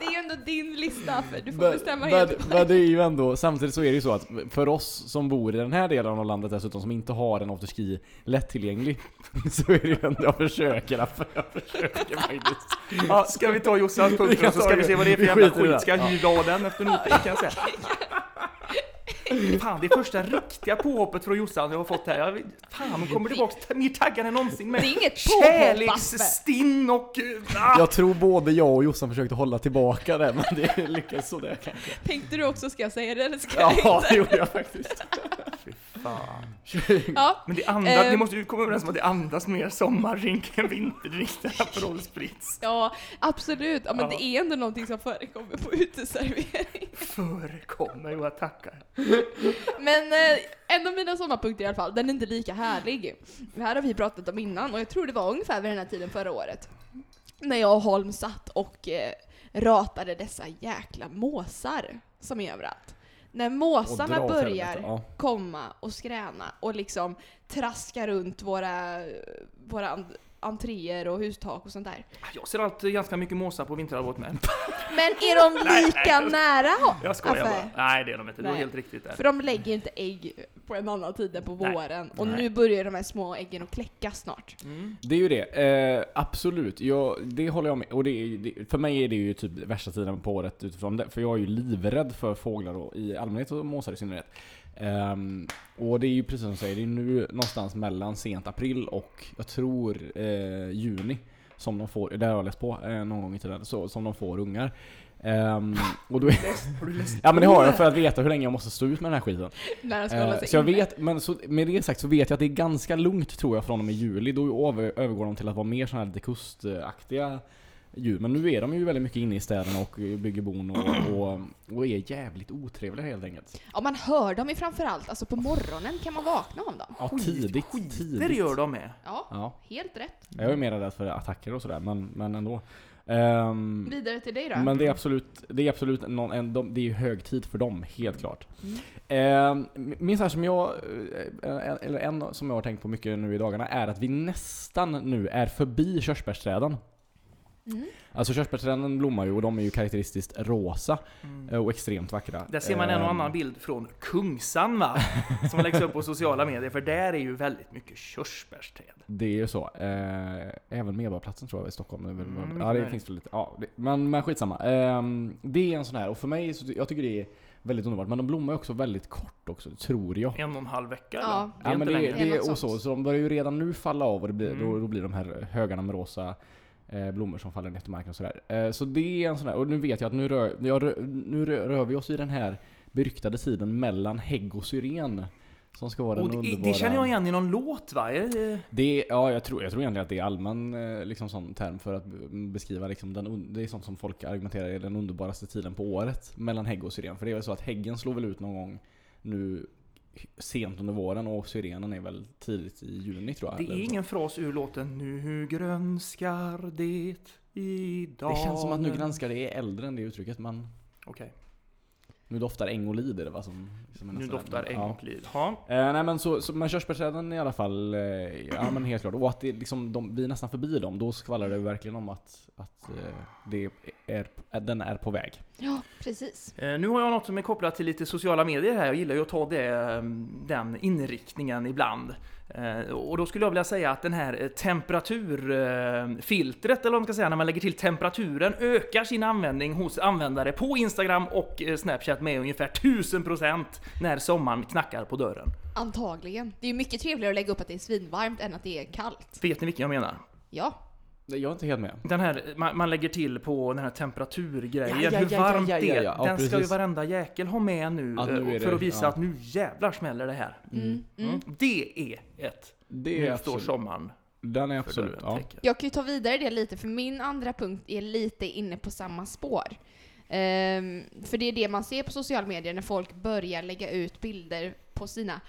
[SPEAKER 3] Det är ju ändå din lista, för du får
[SPEAKER 2] men,
[SPEAKER 3] bestämma
[SPEAKER 2] men,
[SPEAKER 3] helt
[SPEAKER 2] men det är ju ändå, samtidigt så är det ju så att för oss som bor i den här delen av landet dessutom som inte har en afterski lättillgänglig <laughs> så är det ju ändå, jag försöker, jag försöker faktiskt.
[SPEAKER 1] Ja, ska vi ta Jossans punkt
[SPEAKER 2] kan
[SPEAKER 1] så
[SPEAKER 2] ta
[SPEAKER 1] ska vi
[SPEAKER 2] det.
[SPEAKER 1] se vad det är för
[SPEAKER 2] Vi
[SPEAKER 1] jävla
[SPEAKER 2] skiter i
[SPEAKER 1] skit.
[SPEAKER 2] det.
[SPEAKER 1] Ska jag hyvla av den efter noter kan
[SPEAKER 2] <laughs>
[SPEAKER 1] jag säga. Fan, det är första riktiga påhoppet från Jossan jag har fått här. Jag, fan, hon kommer tillbaks t- mer taggad än någonsin
[SPEAKER 3] Det
[SPEAKER 1] med
[SPEAKER 3] är inget påhopp, Affe.
[SPEAKER 1] kärleksstinn och... Ah,
[SPEAKER 2] Jag tror både jag och Jossan försökte hålla tillbaka det, men det lyckades
[SPEAKER 3] <laughs>
[SPEAKER 2] sådär kanske.
[SPEAKER 3] Tänkte du också, ska jag säga det eller ska jag inte?
[SPEAKER 2] Ja, det gjorde jag faktiskt.
[SPEAKER 1] fan.
[SPEAKER 3] Ja.
[SPEAKER 1] Men det andas,
[SPEAKER 3] Eh.
[SPEAKER 1] ni måste ju komma överens om att det andas mer sommardrink än vinterdrink, det här Aperol Spritz.
[SPEAKER 3] Ja, absolut. Ja, men
[SPEAKER 1] Ja.
[SPEAKER 3] det är ändå någonting som förekommer på uteservering.
[SPEAKER 1] Förekommer, jo jag tackar.
[SPEAKER 3] Men eh, en av mina sommarpunkter i alla fall, den är inte lika härlig. Det här har vi pratat om innan och jag tror det var ungefär vid den här tiden förra året. När jag och Holm satt och eh, ratade dessa jäkla måsar som är överallt. När måsarna börjar
[SPEAKER 2] Ja.
[SPEAKER 3] komma och skräna och liksom traska runt våra, våra en- entréer och hustak och sånt där.
[SPEAKER 1] Ah, Jag ser alltid ganska mycket måsar på vinterhalvåret med.
[SPEAKER 3] Men är de
[SPEAKER 1] Nej,
[SPEAKER 3] lika
[SPEAKER 1] nej.
[SPEAKER 3] nära?
[SPEAKER 1] Jag skojar
[SPEAKER 3] Affär.
[SPEAKER 1] bara. Nej det är de inte, du har
[SPEAKER 3] Alltså, Nej.
[SPEAKER 1] helt riktigt där.
[SPEAKER 3] För de lägger ju inte ägg på en annan tid än på
[SPEAKER 1] Nej.
[SPEAKER 3] våren. Och
[SPEAKER 2] Nej.
[SPEAKER 3] nu börjar de här små äggen att kläcka snart.
[SPEAKER 1] Mm.
[SPEAKER 2] Det är ju det. Eh, absolut. Jag, det håller jag med. Och det är, ju- det, för mig är det ju typ värsta tiden på året utifrån det. För jag är ju livrädd för fåglar då, i allmänhet och måsar i synnerhet. Ehm, och det är ju precis som du säger, det är nu någonstans mellan sent april och jag tror eh, juni. Som de får, det har jag läst på eh, någon gång i tiden, så, som de får ungar. Ehm, och då är,
[SPEAKER 1] Har du läst?
[SPEAKER 2] Ja men det har jag för att veta hur länge jag måste stå ut med den här skiten.
[SPEAKER 3] När de ska hålla
[SPEAKER 2] Eh,
[SPEAKER 3] sig
[SPEAKER 2] så jag
[SPEAKER 3] inne.
[SPEAKER 2] vet, men så, med det sagt så vet jag att det är ganska lugnt tror jag från och med juli. Då över, övergår de till att vara mer sådana här lite kustaktiga djur. Men nu är de ju väldigt mycket inne i städerna och bygger bon
[SPEAKER 3] <clears throat>
[SPEAKER 2] och, och, och är jävligt otrevliga helt enkelt.
[SPEAKER 3] Ja, man hör dem ju framförallt. Alltså på morgonen kan man vakna av dem.
[SPEAKER 2] Ja,
[SPEAKER 1] Skit-
[SPEAKER 2] tidigt.
[SPEAKER 1] Där
[SPEAKER 2] tidigt.
[SPEAKER 1] gör de med.
[SPEAKER 3] Ja,
[SPEAKER 2] Ja,
[SPEAKER 3] helt rätt.
[SPEAKER 2] jag är mer rädd för attacker och sådär, men, men ändå. Ehm,
[SPEAKER 3] Vidare till dig då.
[SPEAKER 2] Men det är absolut, det är absolut någon, en, de, det är ju hög tid för dem, helt klart. Mm. Minst här som jag, eh, eh, eller en som jag har tänkt på mycket nu i dagarna, är att vi nästan nu är förbi körsbärsträden.
[SPEAKER 3] Mm.
[SPEAKER 2] Alltså körsbärsträden blommar ju och de är ju karaktäristiskt rosa
[SPEAKER 1] Mm.
[SPEAKER 2] eh, och extremt vackra.
[SPEAKER 1] Där ser man en och
[SPEAKER 2] Ehm,
[SPEAKER 1] annan bild från Kungsan va? Som läggs upp på sociala medier, för där är ju väldigt mycket körsbärsträd.
[SPEAKER 2] Det är ju så. Eh, även Medborgarplatsen tror jag i Stockholm. är väl-
[SPEAKER 1] Mm,
[SPEAKER 2] ja, det
[SPEAKER 1] möjligt.
[SPEAKER 2] finns väl lite. Ja, det, men, men skitsamma. Ehm, det är en sån här och för mig så ty- jag tycker det är väldigt underbart. Men de blommar ju också väldigt kort också, tror jag.
[SPEAKER 1] En och en halv vecka
[SPEAKER 3] Ja.
[SPEAKER 1] eller? Det är
[SPEAKER 2] Ja, men
[SPEAKER 1] inte
[SPEAKER 2] det,
[SPEAKER 1] längre.
[SPEAKER 2] det
[SPEAKER 3] Det är
[SPEAKER 2] är
[SPEAKER 3] något
[SPEAKER 2] och så,
[SPEAKER 3] sånt.
[SPEAKER 2] så de börjar ju redan nu falla av och det blir, då,
[SPEAKER 1] Mm.
[SPEAKER 2] då blir de här högarna med rosa eh, blommor som faller ner till marken och sådär. Eh, så det är en sån här, och nu vet jag att nu rör, jag rör, nu rör, rör vi oss i den här beryktade tiden mellan hägg och syren. Som ska vara den
[SPEAKER 1] Och det,
[SPEAKER 2] underbara...
[SPEAKER 1] det känner jag igen i någon låt va? Är det-
[SPEAKER 2] Det, ja, jag tror, jag tror egentligen att det är allmän eh, liksom, sån term för att mm, beskriva liksom, den, un- det är sånt som folk argumenterar är den underbaraste tiden på året mellan hägg och syren. För det är väl så att häggen slår väl ut någon gång nu sent under våren och syrenen är väl tidigt i juni tror jag.
[SPEAKER 1] Det
[SPEAKER 2] eller
[SPEAKER 1] är
[SPEAKER 2] så.
[SPEAKER 1] ingen fras ur låten Nu grönskar det idag.
[SPEAKER 2] det känns som att nu grönskar det är äldre än det uttrycket men
[SPEAKER 1] Okej,
[SPEAKER 2] nu doftar äng och lid är det va? Som, som är
[SPEAKER 1] nu
[SPEAKER 2] nästa
[SPEAKER 1] doftar
[SPEAKER 2] ämne.
[SPEAKER 1] ägg
[SPEAKER 2] Ja.
[SPEAKER 1] och liv. Ja.
[SPEAKER 2] Eh, nej men så, så men körsbärsträden i alla fall, eh, ja men helt klart. Och att det liksom, de, vi är nästan förbi dem, då skvallrar det ju verkligen om att, att eh, det är, att den är på väg.
[SPEAKER 3] Ja, precis.
[SPEAKER 1] Eh, Nu har jag något som är kopplat till lite sociala medier här. Jag gillar ju att ta det, eh, den inriktningen ibland. Eh, Och då skulle jag vilja säga att den här eh, temperaturfiltret, eller vad man ska säga, när man lägger till temperaturen, ökar sin användning hos användare på Instagram och eh, Snapchat med ungefär 1000% när sommaren knackar på dörren.
[SPEAKER 3] Antagligen. Det är ju mycket trevligare att lägga upp att det är svinvarmt än att det är kallt.
[SPEAKER 1] Vet ni vilken jag menar?
[SPEAKER 3] Ja.
[SPEAKER 2] Nej, Jag är inte helt med.
[SPEAKER 1] Den här, man, man lägger till på den här temperaturgrejen,
[SPEAKER 2] Ja, ja,
[SPEAKER 1] hur
[SPEAKER 2] ja,
[SPEAKER 1] varmt
[SPEAKER 2] ja, ja,
[SPEAKER 1] det är.
[SPEAKER 2] ja, ja,
[SPEAKER 1] den ska ju
[SPEAKER 2] precis.
[SPEAKER 1] varenda jäkel ha med nu
[SPEAKER 2] Ja, nu
[SPEAKER 1] eh,
[SPEAKER 2] är
[SPEAKER 1] för
[SPEAKER 2] det-
[SPEAKER 1] att visa
[SPEAKER 2] ja.
[SPEAKER 1] att nu jävlar smäller det här.
[SPEAKER 3] Mm. Mm.
[SPEAKER 1] Mm. Det är ett
[SPEAKER 2] Det är
[SPEAKER 1] Nu står
[SPEAKER 2] absolut,
[SPEAKER 1] sommaren
[SPEAKER 2] den är
[SPEAKER 1] för
[SPEAKER 2] absolut,
[SPEAKER 1] dörren.
[SPEAKER 2] ja.
[SPEAKER 1] tänker jag.
[SPEAKER 3] Jag kan ju ta vidare det lite, för min andra punkt är lite inne på samma spår. Ehm, för det är det man ser på sociala medier när folk börjar lägga ut bilder på sina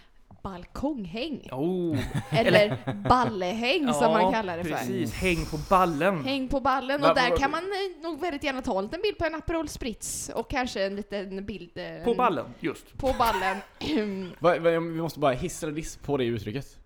[SPEAKER 3] balkonghäng.
[SPEAKER 1] Oh,
[SPEAKER 3] <laughs> Eller ballehäng som
[SPEAKER 1] ja,
[SPEAKER 3] man kallar det för.
[SPEAKER 1] Precis, häng på ballen.
[SPEAKER 3] Häng på ballen
[SPEAKER 2] Va-
[SPEAKER 3] och där
[SPEAKER 2] va-
[SPEAKER 3] kan man eh, nog väldigt gärna ta en liten bild på en Aperol Spritz och kanske en liten bild... eh,
[SPEAKER 1] På ballen, just.
[SPEAKER 3] På ballen. <clears throat>
[SPEAKER 2] Va, va, vi måste bara hiss eller diss på det uttrycket.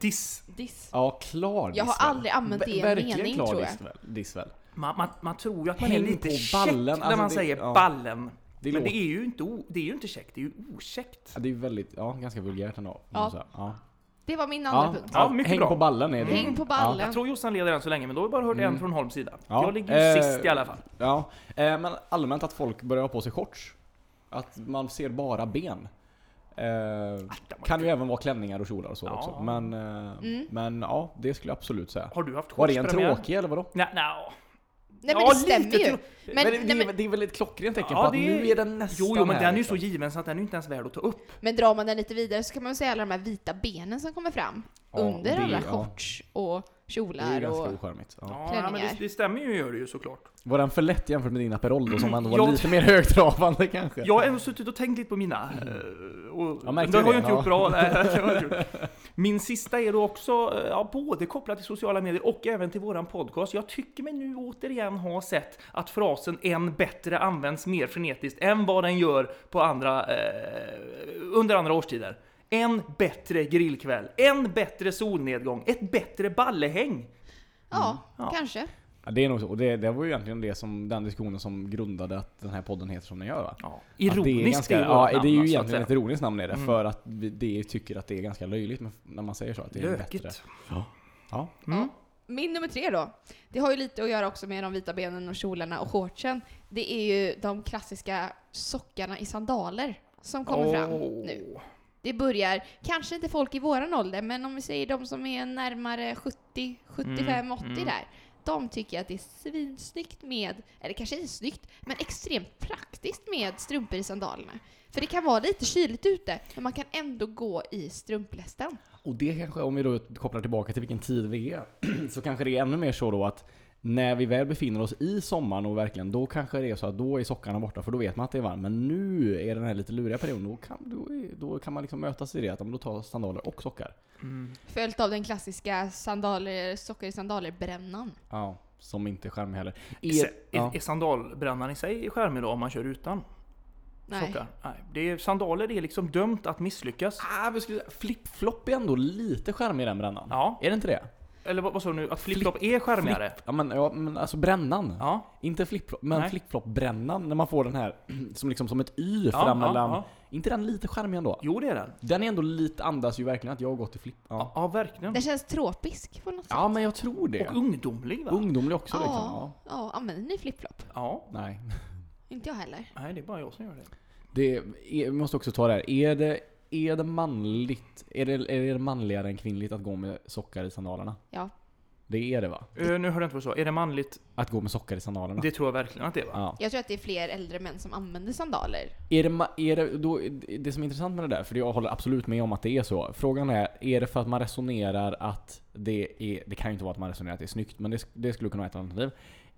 [SPEAKER 1] Diss.
[SPEAKER 3] Diss.
[SPEAKER 2] Ja, klar
[SPEAKER 3] Jag har
[SPEAKER 2] diss väl?
[SPEAKER 3] aldrig använt det i en
[SPEAKER 2] Verkligen
[SPEAKER 3] mening,
[SPEAKER 2] klar
[SPEAKER 3] tror jag.
[SPEAKER 2] diss väl- diss väl?
[SPEAKER 1] Man, man, man tror ju att man
[SPEAKER 2] Häng
[SPEAKER 1] är lite
[SPEAKER 2] på
[SPEAKER 1] käck
[SPEAKER 2] ballen,
[SPEAKER 1] när
[SPEAKER 2] alltså
[SPEAKER 1] man
[SPEAKER 2] det-
[SPEAKER 1] säger
[SPEAKER 2] ja.
[SPEAKER 1] ballen.
[SPEAKER 2] Det
[SPEAKER 1] Men
[SPEAKER 2] låter-
[SPEAKER 1] det är ju inte, o, det är ju inte käckt, det är ju okäckt.
[SPEAKER 2] Ja, det är väldigt, ja, ganska vulgärt ändå. om
[SPEAKER 3] Ja.
[SPEAKER 2] man säger. ja.
[SPEAKER 3] Det var min
[SPEAKER 2] ja.
[SPEAKER 3] andra punkt.
[SPEAKER 1] Ja, mycket
[SPEAKER 2] häng
[SPEAKER 1] bra.
[SPEAKER 2] på ballen är det.
[SPEAKER 3] Häng på
[SPEAKER 2] Ja.
[SPEAKER 3] ballen.
[SPEAKER 1] Jag tror Jossan leder än så länge, men då har vi bara hört en från Holms sida.
[SPEAKER 2] Mm. Ja,
[SPEAKER 1] Jag ligger ju
[SPEAKER 2] eh,
[SPEAKER 1] sist i alla fall.
[SPEAKER 2] Ja, eh, men allmänt att folk börjar ha på sig shorts. Att man ser bara ben. Eh, kan ju även vara klänningar och kjolar och så
[SPEAKER 1] Ja.
[SPEAKER 2] också. Men, eh,
[SPEAKER 1] Mm.
[SPEAKER 2] men ja, det skulle jag absolut säga.
[SPEAKER 1] Har du haft
[SPEAKER 2] Var det en
[SPEAKER 1] premiär?
[SPEAKER 2] tråkig eller vadå?
[SPEAKER 1] Nej, nej.
[SPEAKER 3] Nej men
[SPEAKER 1] Ja,
[SPEAKER 3] det stämmer
[SPEAKER 1] lite
[SPEAKER 3] ju.
[SPEAKER 1] tro-
[SPEAKER 3] Men,
[SPEAKER 2] Men, det,
[SPEAKER 3] nej, men,
[SPEAKER 2] det, är, det är väl ett klockrent tecken
[SPEAKER 1] Ja,
[SPEAKER 2] på att
[SPEAKER 1] det-
[SPEAKER 2] nu är den nästan
[SPEAKER 1] Jo, jo, men
[SPEAKER 2] här,
[SPEAKER 1] den är ju så
[SPEAKER 2] liksom.
[SPEAKER 1] given så att den är ju inte ens värd att ta upp.
[SPEAKER 3] men drar man den lite vidare så kan man väl säga alla de här vita benen som kommer fram.
[SPEAKER 2] Ja,
[SPEAKER 3] under
[SPEAKER 2] det-
[SPEAKER 3] alla
[SPEAKER 2] ja.
[SPEAKER 3] shorts och
[SPEAKER 2] Det är ju
[SPEAKER 3] kjolar
[SPEAKER 2] ganska
[SPEAKER 3] och...
[SPEAKER 2] ocharmigt. Ja.
[SPEAKER 1] Ja, nej, men det,
[SPEAKER 3] Klänningar.
[SPEAKER 1] det stämmer ju, gör det ju såklart.
[SPEAKER 2] Var den för lätt jämfört med din Aperol då som ändå var
[SPEAKER 1] Jag-
[SPEAKER 2] lite mer högtravande kanske?
[SPEAKER 1] Jag har ändå suttit och tänkt lite på mina. eh, Och
[SPEAKER 2] Ja,
[SPEAKER 1] det
[SPEAKER 2] Mm. märkte
[SPEAKER 1] har
[SPEAKER 2] du
[SPEAKER 1] jag
[SPEAKER 2] det?
[SPEAKER 1] inte
[SPEAKER 2] Ja.
[SPEAKER 1] gjort
[SPEAKER 2] <laughs>
[SPEAKER 1] bra. Nej, det har jag inte gjort. Min sista är då också eh, ja, både kopplat till sociala medier och även till våran podcast. Jag tycker mig nu återigen ha sett att frasen en bättre används mer frenetiskt än vad den gör på andra, eh, under andra årstider. En bättre grillkväll, en bättre solnedgång, ett bättre ballehäng.
[SPEAKER 3] Ja,
[SPEAKER 1] Ja.
[SPEAKER 3] kanske.
[SPEAKER 2] Mm. Ja, det är nog så. Och det, det var ju egentligen det som, den diskussionen som grundade att den här podden heter som den gör va?
[SPEAKER 1] Ja,
[SPEAKER 2] Att
[SPEAKER 1] ironiskt
[SPEAKER 2] det är, ganska,
[SPEAKER 1] i vårt
[SPEAKER 2] ja, det är ju
[SPEAKER 1] namn, så att
[SPEAKER 2] egentligen ett
[SPEAKER 1] säga.
[SPEAKER 2] ironiskt namn är det,
[SPEAKER 1] Mm.
[SPEAKER 2] för att vi det tycker att det är ganska löjligt men- när man säger så. Att det är bättre.
[SPEAKER 1] Lökigt.
[SPEAKER 2] Ja.
[SPEAKER 1] Mm.
[SPEAKER 3] Min nummer tre då. Det har ju lite att göra också med de vita benen och kjolarna och shortsen. Det är ju de klassiska sockarna i sandaler som kommer fram nu.
[SPEAKER 1] Åh.
[SPEAKER 3] Det börjar, kanske inte folk i våran ålder, men om vi säger de som är närmare 70, 75,
[SPEAKER 1] Mm,
[SPEAKER 3] 80
[SPEAKER 1] mm.
[SPEAKER 3] där. De tycker att det är svinsnyggt med, eller kanske inte snyggt, men extremt praktiskt med strumpor i sandalerna. För det kan vara lite kyligt ute, men man kan ändå gå i strumplästen.
[SPEAKER 2] Och det kanske, om vi då kopplar tillbaka till vilken tid vi är, <clears throat> så kanske det är ännu mer så då att när vi väl befinner oss i sommaren och verkligen, då kanske det är så att då är sockarna borta för då vet man att det är varmt. Men nu är den här lite luriga perioden, då kan, då är, då kan man liksom mötas i det att ja, men då tar sandaler och sockar.
[SPEAKER 1] Mm.
[SPEAKER 3] Följt av den klassiska sandaler, socker i sandaler-brännan.
[SPEAKER 2] Ja, som inte är skärmig heller.
[SPEAKER 1] Är,
[SPEAKER 2] Er, ja.
[SPEAKER 1] är sandalbrännan i sig skärmig då om man kör utan
[SPEAKER 3] Nej.
[SPEAKER 1] sockar? Nej. Det är, sandaler är liksom dömt att misslyckas.
[SPEAKER 2] Ah, vi skulle, flip-flop är ändå lite skärmig i den brännan.
[SPEAKER 1] Ja.
[SPEAKER 2] Är det inte det?
[SPEAKER 1] Eller vad vad sa du nu? Att flip-flop är skärmigare?
[SPEAKER 2] Ja men, ja, men alltså brännan.
[SPEAKER 1] Ja.
[SPEAKER 2] Inte flip-flop, men
[SPEAKER 1] Nej.
[SPEAKER 2] flip-flop-brännan när man får den här <clears throat> som liksom som ett Y
[SPEAKER 1] Ja,
[SPEAKER 2] fram
[SPEAKER 1] ja,
[SPEAKER 2] mellan...
[SPEAKER 1] ja.
[SPEAKER 2] inte den lite skärmig ändå?
[SPEAKER 1] Jo, det är den.
[SPEAKER 2] Den är ändå lite, andas ju verkligen att jag har gått till flip...
[SPEAKER 1] Ja,
[SPEAKER 2] Ja,
[SPEAKER 1] ja verkligen.
[SPEAKER 3] Den känns tropisk på något sätt.
[SPEAKER 2] ja men jag tror det.
[SPEAKER 1] Och ungdomlig va?
[SPEAKER 2] Ungdomlig också
[SPEAKER 3] Ja.
[SPEAKER 2] liksom. Ja.
[SPEAKER 3] Ja, använder ni flipflop?
[SPEAKER 1] Ja.
[SPEAKER 2] Nej.
[SPEAKER 3] Inte jag heller.
[SPEAKER 1] Nej, det är bara jag som gör det.
[SPEAKER 2] Det är, vi måste också ta det här. Är det, är det manligt? Är det, är det manligare än kvinnligt att gå med sockar i sandalerna?
[SPEAKER 3] Ja.
[SPEAKER 2] Det är det va?
[SPEAKER 1] Eh, nu hörde jag inte vad du sa. Är det manligt?
[SPEAKER 2] Att gå med sockar i sandalerna?
[SPEAKER 1] Det tror jag verkligen att det är va?
[SPEAKER 2] Ja.
[SPEAKER 3] Jag tror att det är fler äldre män som använder sandaler.
[SPEAKER 2] Är det, ma- är det, då, det som är intressant med det där, för jag håller absolut med om att det är så. Frågan är, är det för att man resonerar att det är... Det kan ju inte vara att man resonerar att det är snyggt, men det, sk- det skulle kunna vara ett alternativ.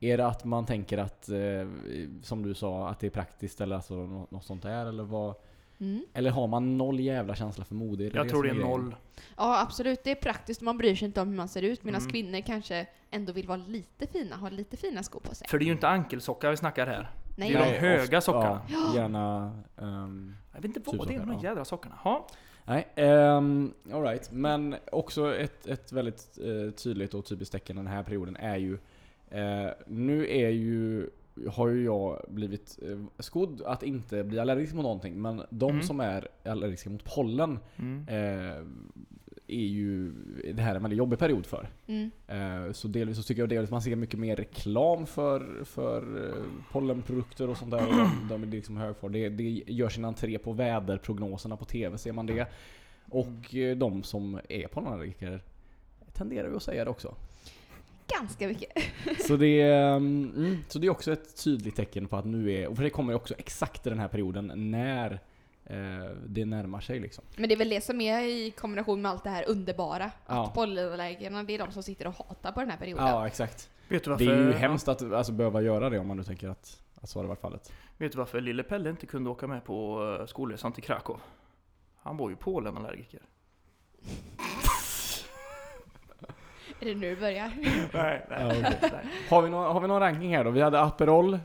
[SPEAKER 2] Är det att man tänker att, eh, som du sa, att det är praktiskt eller alltså nå- något sånt där? Eller, vad,
[SPEAKER 3] Mm.
[SPEAKER 2] eller har man noll jävla känsla för mode? Är
[SPEAKER 1] Jag tror
[SPEAKER 2] som
[SPEAKER 1] det är
[SPEAKER 2] grejen?
[SPEAKER 1] noll.
[SPEAKER 3] Ja, absolut. Det är praktiskt. Man bryr sig inte om hur man ser ut. Medan
[SPEAKER 1] Mm.
[SPEAKER 3] kvinnor kanske ändå vill vara lite fina, ha lite fina skor på sig.
[SPEAKER 1] För det är ju inte ankelsockar vi snackar här.
[SPEAKER 3] Nej,
[SPEAKER 1] det är de
[SPEAKER 2] Nej,
[SPEAKER 1] höga
[SPEAKER 2] ofta-
[SPEAKER 1] sockarna.
[SPEAKER 2] Ja, gärna... ehm,
[SPEAKER 1] Jag vet inte
[SPEAKER 2] Typ
[SPEAKER 1] vad det är med de
[SPEAKER 2] sockar, ja.
[SPEAKER 1] jädra sockarna. Ha?
[SPEAKER 2] nej, um, alright. Men också ett, ett väldigt eh, tydligt och typiskt tecken den här perioden är ju... eh, nu är ju... Har ju jag blivit uh, skodd att inte bli allergisk mot någonting. Men de
[SPEAKER 1] Mm.
[SPEAKER 2] som är allergiska mot pollen
[SPEAKER 1] Mm.
[SPEAKER 2] eh, är ju... Det här är en väldigt jobbig period för.
[SPEAKER 3] Mm.
[SPEAKER 2] Eh, Så delvis så tycker jag delvis man ser mycket mer reklam för, för eh, pollenprodukter och sånt där. Och de, de är liksom hög för. Det, det gör sin entré på väderprognoserna på TV, ser man det. Och eh, de som är pollenallergiker tenderar ju att säga det också.
[SPEAKER 3] Ganska mycket.
[SPEAKER 2] Så det, är, mm, mm, så det är också ett tydligt tecken på att nu är... Och för det kommer ju också exakt i den här perioden när eh, det närmar sig liksom.
[SPEAKER 3] Men det är väl det som är i kombination med allt det här underbara.
[SPEAKER 2] Ja.
[SPEAKER 3] Att pollenallergikerna, det är de som sitter och hatar på den här perioden.
[SPEAKER 2] Ja, exakt.
[SPEAKER 1] Vet du varför,
[SPEAKER 2] Det är ju hemskt att alltså, behöva göra det om man nu tänker att, att så hade varit fallet.
[SPEAKER 1] Vet du varför lille Pelle inte kunde åka med på eh, skolresan till Krakow? Han var ju pollenallergiker.
[SPEAKER 3] Är det nu det börjar? <laughs>
[SPEAKER 1] Nej,
[SPEAKER 2] Ja, okej.
[SPEAKER 1] nej.
[SPEAKER 2] Har vi, någon, har vi någon ranking här då? Vi hade Aperol,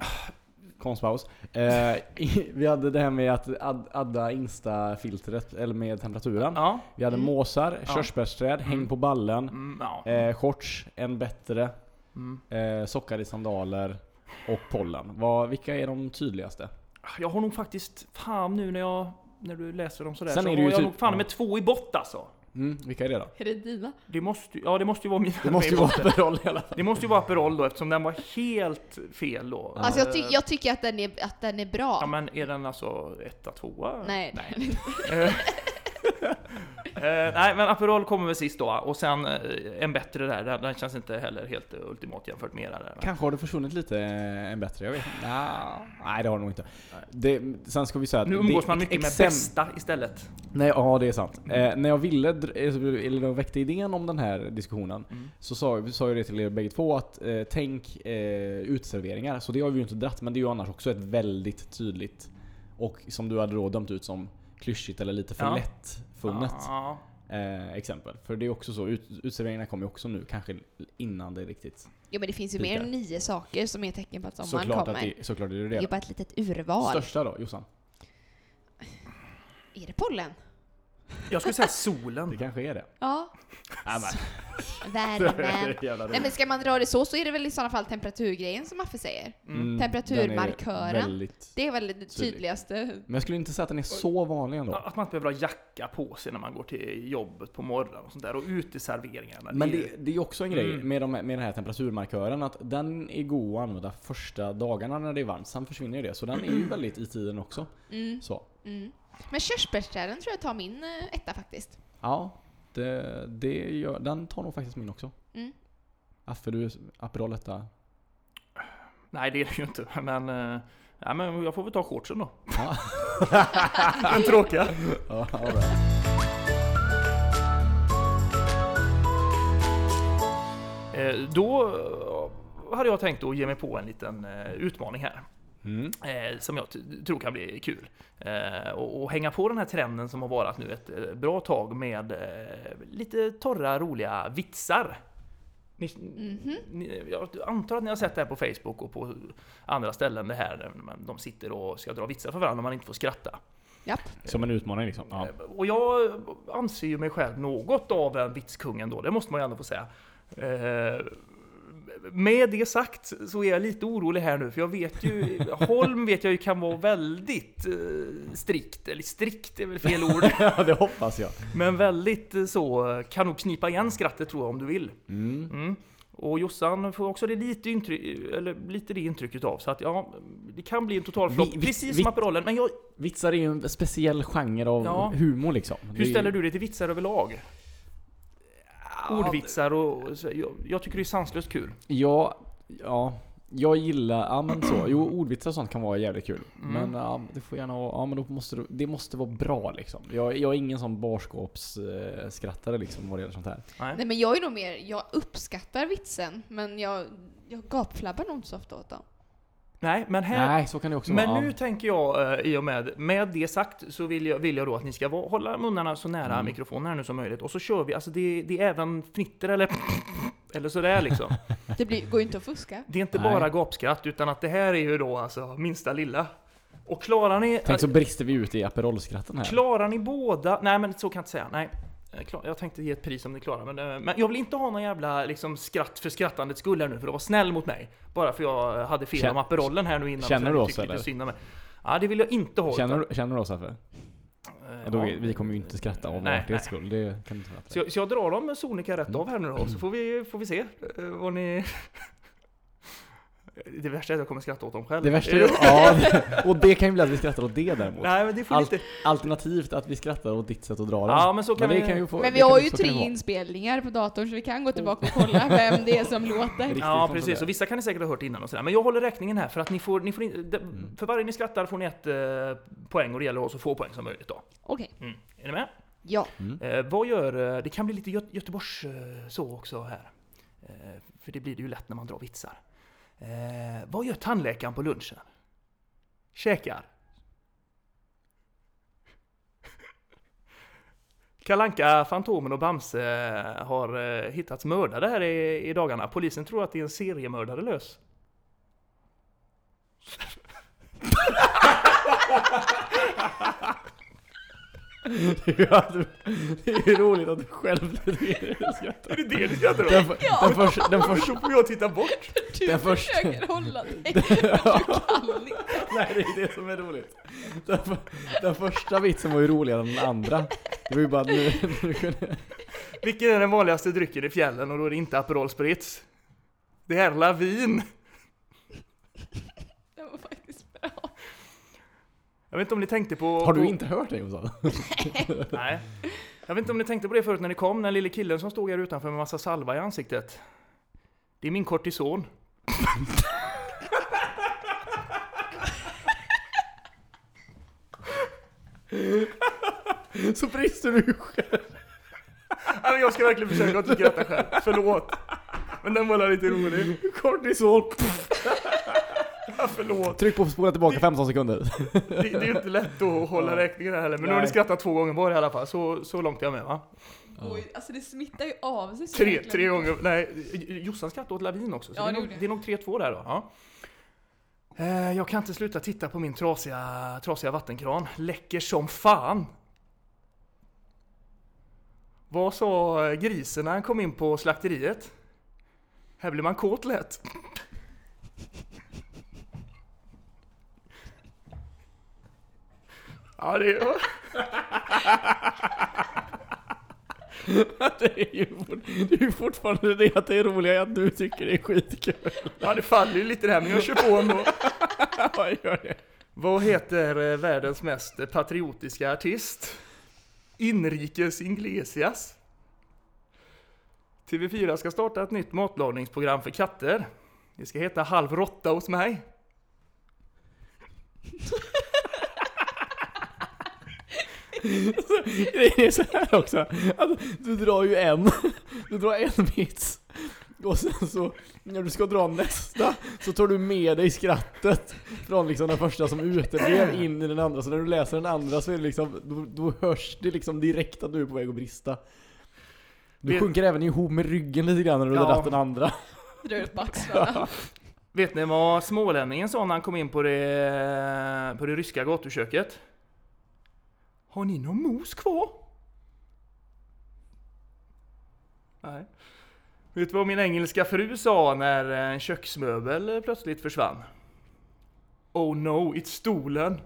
[SPEAKER 2] konstpaus. Eh, i- vi hade det här med att ad, adda Insta-filtret, eller med temperaturen.
[SPEAKER 1] Ja,
[SPEAKER 2] Vi hade
[SPEAKER 3] Mm.
[SPEAKER 2] måsar,
[SPEAKER 1] Ja.
[SPEAKER 2] körsbärsträd, häng
[SPEAKER 1] Mm.
[SPEAKER 2] på ballen,
[SPEAKER 1] mm, ja.
[SPEAKER 2] eh, shorts, en bättre,
[SPEAKER 1] Mm.
[SPEAKER 2] eh, sockar i sandaler och pollen. Vad- vilka är de tydligaste?
[SPEAKER 1] Jag har nog faktiskt, fan nu när jag, när du läser dem sådär,
[SPEAKER 2] Sen
[SPEAKER 1] så
[SPEAKER 2] är det
[SPEAKER 1] har
[SPEAKER 2] ju
[SPEAKER 1] jag
[SPEAKER 2] typ-
[SPEAKER 1] nog fan med två i bott alltså.
[SPEAKER 2] Mm, vilka är det då?
[SPEAKER 3] Är det dina?
[SPEAKER 1] Det måste, ju- ja, det måste ju vara mina <laughs>
[SPEAKER 2] Det måste ju vara Aperol i alla fall.
[SPEAKER 1] Det måste ju vara Aperol då eftersom den var helt fel då.
[SPEAKER 3] Alltså jag,
[SPEAKER 1] Eh,
[SPEAKER 3] ty- jag tycker att den är, att den är bra.
[SPEAKER 1] Ja men är den alltså etta, tvåa?
[SPEAKER 3] Nej,
[SPEAKER 1] Nej. Eh, nej men Aperol kommer väl sist då och sen eh, en bättre där, den, den känns inte heller helt eh, ultimat jämfört med era där.
[SPEAKER 2] Kanske har det försvunnit lite eh, en bättre, jag vet inte. Nja, Nej det har det nog inte. Det, sen ska vi säga att...
[SPEAKER 1] Nu umgås
[SPEAKER 2] det-
[SPEAKER 1] man mycket med
[SPEAKER 2] exemp-
[SPEAKER 1] bästa istället.
[SPEAKER 2] Nej, ja det är sant. Eh, när jag ville, dr- eh, eller när jag väckte idén om den här diskussionen,
[SPEAKER 1] Mm.
[SPEAKER 2] så sa, sa jag det till er bägge två att eh, tänk eh, utserveringar. Så det har vi ju inte dratt, men det är ju annars också ett väldigt tydligt och som du hade då dömt ut som klyschigt eller lite för
[SPEAKER 1] Ja.
[SPEAKER 2] lättfunnet
[SPEAKER 1] Ja,
[SPEAKER 2] eh, exempel. För det är också så, ut, utserveringarna kommer ju också nu, kanske innan det riktigt.
[SPEAKER 3] <laughs> Jo men det finns ju
[SPEAKER 2] Lite.
[SPEAKER 3] mer än nio saker som är tecken på att sommaren
[SPEAKER 2] Såklart, att
[SPEAKER 3] kommer.
[SPEAKER 2] det, såklart är det
[SPEAKER 3] det är
[SPEAKER 2] det.
[SPEAKER 3] bara ett litet urval.
[SPEAKER 2] Största då, Jossan?
[SPEAKER 3] Är det pollen?
[SPEAKER 1] jag skulle säga
[SPEAKER 2] Det
[SPEAKER 1] solen.
[SPEAKER 2] kanske är det.
[SPEAKER 3] Ja.
[SPEAKER 2] Nej,
[SPEAKER 1] <laughs>
[SPEAKER 2] nej.
[SPEAKER 3] Värmen.
[SPEAKER 2] Jävla roligt.
[SPEAKER 3] Nej men ska man dra det så så är det väl i sådana fall temperaturgrejen som Affe säger.
[SPEAKER 2] Mm,
[SPEAKER 3] temperaturmarkören.
[SPEAKER 2] den är väldigt-
[SPEAKER 3] Det är väl det tydligaste.
[SPEAKER 2] Men jag skulle inte säga att den är så vanlig ändå.
[SPEAKER 1] Att man inte behöver ha jacka på sig när man går till jobbet på morgonen och sånt där. Och uteserveringarna.
[SPEAKER 2] Men
[SPEAKER 1] det är-
[SPEAKER 2] det, det är också en grej
[SPEAKER 1] Mm.
[SPEAKER 2] med, de, med den här temperaturmarkören att den är god att använda första dagarna när det är varmt. Sen försvinner ju det. Så den är
[SPEAKER 1] Mm.
[SPEAKER 2] ju väldigt i tiden också.
[SPEAKER 3] Mm,
[SPEAKER 2] Så.
[SPEAKER 3] mm. Men körsbärsträden tror jag tar min eh, etta faktiskt.
[SPEAKER 2] Ja, det, det gör, den tar nog faktiskt min också.
[SPEAKER 3] Mm.
[SPEAKER 2] Affe, du Aperol etta.
[SPEAKER 1] Nej det är det ju inte. Men, eh, ja, men jag får väl ta shortsen då.
[SPEAKER 2] Ja.
[SPEAKER 1] <laughs> Den tråkiga.
[SPEAKER 2] Ja, all right.
[SPEAKER 1] Eh, Då eh, hade jag tänkt att ge mig på en liten eh, utmaning här.
[SPEAKER 2] mm.
[SPEAKER 1] eh, som jag t- tror kan bli kul. Eh, och, och hänga på den här trenden som har varit nu ett eh, bra tag med eh, lite torra, roliga vitsar. Ni, ni, jag antar att ni har sett det här på Facebook och på andra ställen det här där man- de sitter och ska dra vitsar för varandra och man inte får skratta.
[SPEAKER 3] Japp.
[SPEAKER 2] Som en utmaning liksom. Ja.
[SPEAKER 1] Och jag anser ju mig själv något av en vitskung ändå, det måste man ju ändå få säga. Eh, med det sagt så är jag lite orolig här nu, för jag vet ju,
[SPEAKER 2] <laughs>
[SPEAKER 1] Holm vet jag ju kan vara väldigt eh, strikt, eller strikt är väl fel
[SPEAKER 2] <laughs>
[SPEAKER 1] ord,
[SPEAKER 2] <laughs> Ja, det hoppas jag.
[SPEAKER 1] men väldigt eh, så, kan nog knipa igen skrattet tror jag om du vill.
[SPEAKER 2] Mm.
[SPEAKER 1] Mm. Och Jossan får också det lite, intry- eller lite det intrycket av, så att ja, det kan bli en total flopp,
[SPEAKER 2] Vi- vi-
[SPEAKER 1] precis
[SPEAKER 2] vi-
[SPEAKER 1] som Aperolen. Men jag,
[SPEAKER 2] Vitsar är ju en speciell genre av
[SPEAKER 1] Ja.
[SPEAKER 2] humor liksom.
[SPEAKER 1] hur ställer du dig till vitsar överlag? Ordvitsar och... så- Jag, jag tycker det är sanslöst kul.
[SPEAKER 2] Ja, ja. Jag gillar, ja men så. Jo, ordvitsar och sånt kan vara jävligt kul.
[SPEAKER 1] Mm.
[SPEAKER 2] Men ja, det får gärna vara, ja men då måste det, det måste vara bra liksom. Jag, jag är ingen sån barskåpsskrattare eh, skrattare, liksom vad det gäller sånt här.
[SPEAKER 3] Nej men jag är nog mer, jag uppskattar vitsen men jag, jag gapflabbar nog inte så ofta åt dem.
[SPEAKER 1] Nej, men här...
[SPEAKER 2] Nej, så kan det också vara.
[SPEAKER 1] Men nu
[SPEAKER 2] ja.
[SPEAKER 1] tänker jag eh, i och med, med det sagt så vill jag, vill jag då att ni ska va- hålla munnarna så nära
[SPEAKER 2] Mm.
[SPEAKER 1] mikrofonen här nu som möjligt och så kör vi, alltså det, det är även fnitter eller <laughs> eller sådär liksom.
[SPEAKER 3] Det blir, går ju inte att fuska.
[SPEAKER 1] Det är inte
[SPEAKER 2] Nej.
[SPEAKER 1] bara gapskratt utan att det här är ju då alltså minsta lilla. Och klarar ni,
[SPEAKER 2] Tänk så brister vi ut i Aperol-skratten här.
[SPEAKER 1] klarar ni båda, nej men så kan jag inte säga, nej. Eh, klar- Jag tänkte ge ett pris om ni klarar men, eh, men jag vill inte ha någon jävla liksom, skratt för skrattandets skull här nu för att vara snäll mot mig. Bara för jag eh, hade fel
[SPEAKER 2] Kän-
[SPEAKER 1] om Aperollen här nu innan.
[SPEAKER 2] Känner
[SPEAKER 1] så
[SPEAKER 2] du
[SPEAKER 1] ni
[SPEAKER 2] oss,
[SPEAKER 1] tycker lite
[SPEAKER 2] eller?
[SPEAKER 1] synd om mig. Ja, det vill jag inte ha.
[SPEAKER 2] Känner,
[SPEAKER 1] utan-
[SPEAKER 2] du- känner du oss Affe?
[SPEAKER 1] Eh,
[SPEAKER 2] Ja, då
[SPEAKER 1] ja.
[SPEAKER 2] vi, vi kommer ju inte skratta av
[SPEAKER 1] Nej,
[SPEAKER 2] artighets skull. Det kan inte vara
[SPEAKER 1] Så jag, så jag drar dem sonika rätt av här nu
[SPEAKER 2] Mm.
[SPEAKER 1] då, så får vi, får vi se eh, vad ni... <laughs> Det värsta är att jag kommer skratta åt dem själv.
[SPEAKER 2] Det värsta är
[SPEAKER 1] <laughs>
[SPEAKER 2] ju, ja, det- och det kan ju bli att vi skrattar åt det däremot.
[SPEAKER 1] Nej men det får
[SPEAKER 2] Allt-
[SPEAKER 1] inte...
[SPEAKER 2] Alternativt att vi skrattar åt ditt sätt att dra den.
[SPEAKER 1] Ja men så kan
[SPEAKER 2] men det
[SPEAKER 1] vi...
[SPEAKER 2] kan ju få,
[SPEAKER 3] Men
[SPEAKER 2] det
[SPEAKER 3] vi
[SPEAKER 2] kan-
[SPEAKER 3] har ju
[SPEAKER 2] så kan
[SPEAKER 3] tre
[SPEAKER 2] det vara.
[SPEAKER 3] inspelningar på datorn så vi kan gå tillbaka och kolla vem det
[SPEAKER 2] <laughs>
[SPEAKER 3] är som låter.
[SPEAKER 1] Ja
[SPEAKER 2] riktigt
[SPEAKER 1] precis,
[SPEAKER 2] kontrollera.
[SPEAKER 1] och vissa kan ni säkert ha hört innan och sådär. Men jag håller räkningen här för att ni får... Ni får in, de, För varje ni skrattar får ni ett eh, poäng och det gäller att ha så få poäng som möjligt då.
[SPEAKER 3] Okej,
[SPEAKER 1] Mm. Är ni med?
[SPEAKER 3] ja.
[SPEAKER 1] Eh, vad gör... eh, Det kan bli lite Gö- Göteborgs eh, så också här. Eh, för det blir det ju lätt när man drar vitsar. Eh, vad gör tandläkaren på lunchen? Käkar. Kalanka, Fantomen och Bamse har eh, hittats mördade här i, i dagarna. Polisen tror att det är en seriemördare lös.
[SPEAKER 2] det är ju roligt att du själv skrattar.
[SPEAKER 1] Är det det du skrattar
[SPEAKER 2] Den,
[SPEAKER 1] åt?
[SPEAKER 2] för, den, förs- den, förs-
[SPEAKER 1] Så får jag titta bort.
[SPEAKER 3] Du
[SPEAKER 2] Den första-
[SPEAKER 3] försöker
[SPEAKER 2] <laughs>
[SPEAKER 3] hålla dig, men du kan inte.
[SPEAKER 2] nej, det är det som är roligt. Den, för, den första vitsen var ju roligare än den andra. Det var ju bara nu, nu kunde,
[SPEAKER 1] Vilken är den vanligaste drycken i fjällen och då är det inte Aperol Spritz? Det är lavin.
[SPEAKER 3] Den var faktiskt bra.
[SPEAKER 1] Jag vet inte om ni tänkte på...
[SPEAKER 2] Har du
[SPEAKER 1] på-
[SPEAKER 2] inte hört det Jonsson? Typ.
[SPEAKER 1] Nej. Jag vet inte om ni tänkte på det förut när ni kom, den lille killen som stod här utanför med massa salva i ansiktet. Det är min kortison.
[SPEAKER 2] Så brister du ju själv.
[SPEAKER 1] Nej, men jag ska verkligen försöka att inte skratta själv. Förlåt. Men den var lite rolig.
[SPEAKER 2] Kortisol.
[SPEAKER 1] Ja, <laughs> förlåt.
[SPEAKER 2] Tryck på spola tillbaka 15 sekunder.
[SPEAKER 1] Det, det är ju inte lätt att hålla räkningen här heller. Men nu har ni
[SPEAKER 2] Nej.
[SPEAKER 1] skrattat två gånger var i alla fall. Så, så långt är jag med va?
[SPEAKER 3] Oj, alltså det smittar ju av sig så
[SPEAKER 1] Tre,
[SPEAKER 3] jäkla
[SPEAKER 1] tre
[SPEAKER 3] mycket.
[SPEAKER 1] gånger. Nej, Jossan skrattade åt lavin också. Så
[SPEAKER 3] Ja,
[SPEAKER 1] det, är
[SPEAKER 3] det
[SPEAKER 1] nog,
[SPEAKER 3] gjorde jag.
[SPEAKER 1] det är nog 3-2 där då. Ja. Eh, Jag kan inte sluta titta på min trasiga, trasiga vattenkran. Läcker som fan! Vad sa grisen när han kom in på slakteriet? Här blir man kåt lätt. Ja, det är...
[SPEAKER 2] <laughs> Det är ju, fort- det är ju fortfarande det att det är roligare att du tycker det är skitkul.
[SPEAKER 1] Ja, det faller ju lite där, men jag kör på ändå.
[SPEAKER 2] <laughs> Ja, gör det.
[SPEAKER 1] Vad heter eh, världens mest patriotiska artist? Inrikes Inglesias. TV4 ska starta ett nytt matlagningsprogram för katter. Det ska heta Halv råtta hos mig.
[SPEAKER 2] Det Alltså, är så här också, att du drar ju en, du drar en vits. Och sen så, när du ska dra nästa, så tar du med dig skrattet från liksom den första som uteblev in i den andra. Så när du läser den andra så är det liksom, då, då hörs det liksom direkt att du är på väg att brista. Du
[SPEAKER 1] Vet-
[SPEAKER 2] sjunker även ihop med ryggen lite grann när du
[SPEAKER 1] Ja.
[SPEAKER 2] har dragit den andra.
[SPEAKER 3] Drar ut på axlarna.
[SPEAKER 1] Vet ni vad smålänningen sa när han kom in på det, på det ryska gatuköket? Har ni någon mos kvar? Nej. Vet du vad min engelska fru sa när en köksmöbel plötsligt försvann? Oh no, it's stolen.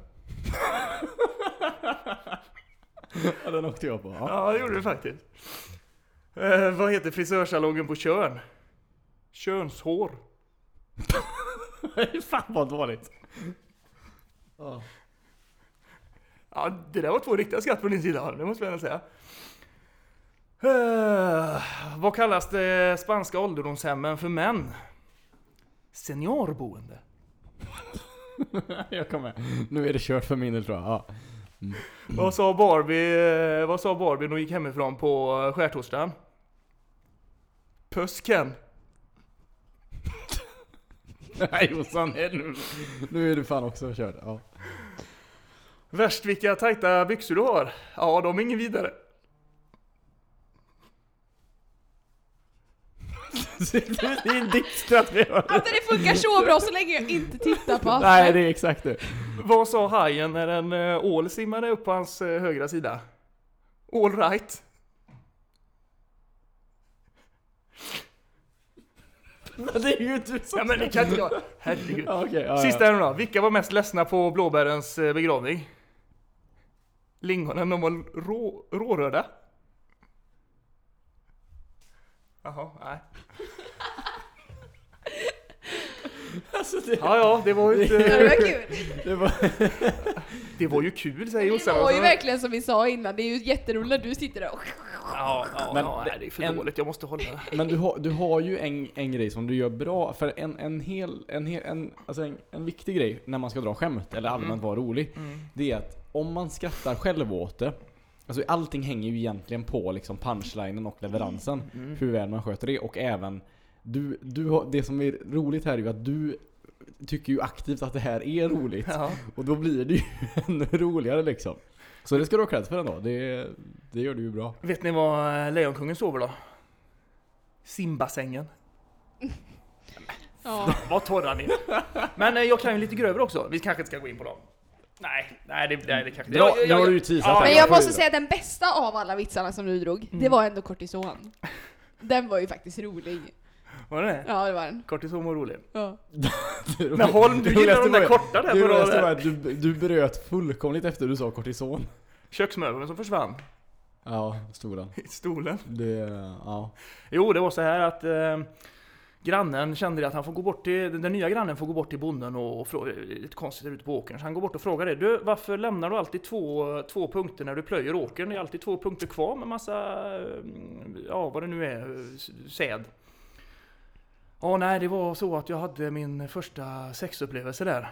[SPEAKER 2] Ja, den åkte jag på. Ja.
[SPEAKER 1] Ja, det gjorde det faktiskt. Eh, vad heter frisörsalongen på Tjörn? Könshår.
[SPEAKER 2] <laughs> Fan vad dåligt.
[SPEAKER 1] Ja, det där var två riktiga skratt från din sida, det måste jag ändå säga. Eh, vad kallas det spanska ålderdomshemmen för män? Seniorboende.
[SPEAKER 2] Jag kommer. Nu är det kört för min del tror jag. Ja.
[SPEAKER 1] Vad sa Barbie, eh, vad sa Barbie när hon gick hemifrån på eh, skärtorsdagen? Pösken.
[SPEAKER 2] Nej Jossan, nej, nu, nu är du fan också körd. Ja.
[SPEAKER 1] Värst vilka tajta byxor du har. Ja, de är ingen vidare.
[SPEAKER 2] <laughs> Det är ditt skratt vi hör.
[SPEAKER 3] Alltså det funkar så bra så länge jag inte tittar på
[SPEAKER 2] Nej, det är exakt det.
[SPEAKER 1] Vad sa hajen när en eh, ål simmade upp på hans eh, högra sida? All right.
[SPEAKER 2] Det är ju du som...
[SPEAKER 1] Ja men det kan inte jag. Herregud.
[SPEAKER 2] Ja, okej, ja,
[SPEAKER 1] Sista här nu då. Vilka var mest ledsna på blåbärens eh, begravning? Lingonen, de var rå, råröda. Jaha, nej.
[SPEAKER 2] Ja. Alltså, det,
[SPEAKER 1] Ja, ja, det var ju
[SPEAKER 3] <laughs> Det
[SPEAKER 1] inte...
[SPEAKER 3] var kul.
[SPEAKER 2] det var...
[SPEAKER 1] Det alltså. var ju kul säger
[SPEAKER 3] Det
[SPEAKER 1] Jossan.
[SPEAKER 3] var ju verkligen som vi sa innan, det är ju jätteroligt när du sitter där och...
[SPEAKER 1] Ja, ja,
[SPEAKER 2] Men
[SPEAKER 1] ja, nej, det är för
[SPEAKER 2] en-
[SPEAKER 1] dåligt. Jag måste hålla
[SPEAKER 2] <laughs>
[SPEAKER 1] det.
[SPEAKER 2] Men du har, du har ju en, en grej som du gör bra, för en, en hel, en hel, en, alltså en, en viktig grej när man ska dra skämt, eller allmänt vara rolig,
[SPEAKER 1] Mm.
[SPEAKER 2] det är att om man skrattar själv åt det, alltså allting hänger ju egentligen på liksom punchlinen och leveransen, hur väl man sköter det och även du, du har, det som är roligt här är ju att du tycker ju aktivt att det här är roligt.
[SPEAKER 1] Ja.
[SPEAKER 2] Och då blir det ju <laughs> ännu roligare liksom. Så det ska du ha cred för ändå, det, det gör du ju bra. <laughs>
[SPEAKER 1] Vet ni var eh, Lejonkungen sover då? Simbassängen.
[SPEAKER 3] Ja.
[SPEAKER 1] Vad torra ni Men eh, jag kan ju lite grövre också. Vi kanske inte ska gå in på dem. Nej, nej det, nej, det kanske
[SPEAKER 2] Dra- nu har du ju teasat här.
[SPEAKER 3] Men
[SPEAKER 2] jag
[SPEAKER 3] jag
[SPEAKER 2] får
[SPEAKER 3] måste
[SPEAKER 2] ju-
[SPEAKER 3] säga att den bästa av alla vitsarna som du drog, det var ändå kortison. Den var ju faktiskt rolig.
[SPEAKER 1] Var det det?
[SPEAKER 3] Ja, det var den.
[SPEAKER 1] Kortison var rolig.
[SPEAKER 3] Ja.
[SPEAKER 1] Men Holm, du
[SPEAKER 2] Det
[SPEAKER 1] gillar de
[SPEAKER 2] roligaste
[SPEAKER 1] där
[SPEAKER 2] var-
[SPEAKER 1] korta där
[SPEAKER 2] Det
[SPEAKER 1] på
[SPEAKER 2] roligaste var
[SPEAKER 1] raden.
[SPEAKER 2] att du, du bröt fullkomligt efter du sa kortison.
[SPEAKER 1] Köksmöbeln som försvann
[SPEAKER 2] Ja, stolen.
[SPEAKER 1] i stolen.
[SPEAKER 2] Det, ja.
[SPEAKER 1] Jo, det var så här att eh, grannen kände att han får gå bort till, den nya grannen får gå bort till bonden och, och fråga, lite konstigt ute på åkern. Så han går bort och frågar det. Du, varför lämnar du alltid två, två punkter när du plöjer åkern? Det är alltid två punkter kvar med massa, eh, ja vad det nu är, eh, s- säd. Ja, nej, det var så att jag hade min första sexupplevelse där.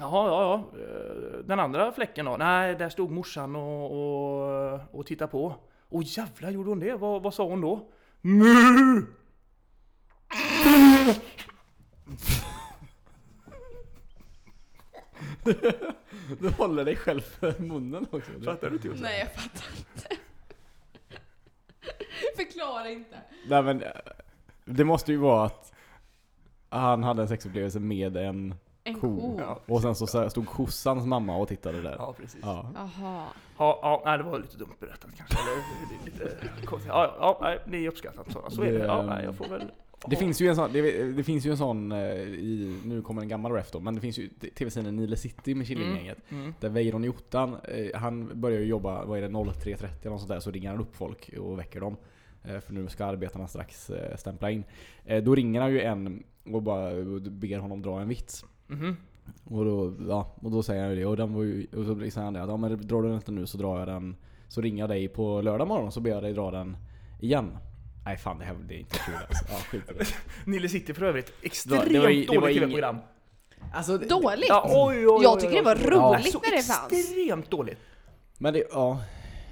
[SPEAKER 1] Jaha, ja, ja. Eh, Den andra fläcken då? Nej, där stod morsan och, och, och tittade på. Åh jävlar, gjorde hon det? Vad, vad sa hon då? Mu!
[SPEAKER 2] Du håller dig själv för munnen också. Det-
[SPEAKER 1] Fattar du inte Jossan?
[SPEAKER 3] Nej, jag fattar inte. <laughs> Förklara inte.
[SPEAKER 2] Nej men, eh, det måste ju vara att han hade en sexupplevelse med en
[SPEAKER 3] En
[SPEAKER 2] Ko.
[SPEAKER 3] ko.
[SPEAKER 1] Ja,
[SPEAKER 2] och sen så sa- stod kossans mamma och tittade där.
[SPEAKER 1] ja, precis. Ja,
[SPEAKER 2] Ja.
[SPEAKER 3] Jaha.
[SPEAKER 1] ja nej, det var lite dumt berättat kanske. Eller, det är lite konstigt. Ja, ja, ja, nej, ni uppskattar inte sådana. Så är det. Ja, nej, jag får väl...
[SPEAKER 2] ehm, Det finns ju en sån, det, det finns ju en sån eh, i, nu kommer en gammal ref då, men det finns ju tv-serien Nile City med Killinggänget.
[SPEAKER 1] Mm.
[SPEAKER 2] Där Weiron i ottan, eh, han börjar ju jobba, vad är det, 03.30 eller något sånt där, så ringer han upp folk och väcker dem. Eh, för nu ska arbetarna strax eh, stämpla in. Eh, då ringer han ju en och bara ber honom dra en vits.
[SPEAKER 1] Mhm.
[SPEAKER 2] Och då, ja, och då säger han ju det. Och, den var ju, och så säger han det att ja, men drar du den inte nu så drar jag den. Så ringer jag dig på lördag morgon så ber jag dig dra den igen. Nej fan det här det är inte kul alltså. Ja, skit i det.
[SPEAKER 1] Nile City för övrigt. Extremt
[SPEAKER 2] var- det var ju- det var
[SPEAKER 1] dåligt
[SPEAKER 2] ju
[SPEAKER 1] tv-program.
[SPEAKER 2] Alltså,
[SPEAKER 3] Dåligt.
[SPEAKER 1] Ja, oj, oj, oj,
[SPEAKER 3] Jag tycker
[SPEAKER 1] oj,
[SPEAKER 3] det var
[SPEAKER 1] oj.
[SPEAKER 3] roligt
[SPEAKER 1] Ja,
[SPEAKER 3] när det
[SPEAKER 1] så
[SPEAKER 3] fanns.
[SPEAKER 1] Extremt dåligt.
[SPEAKER 2] Men det, ja.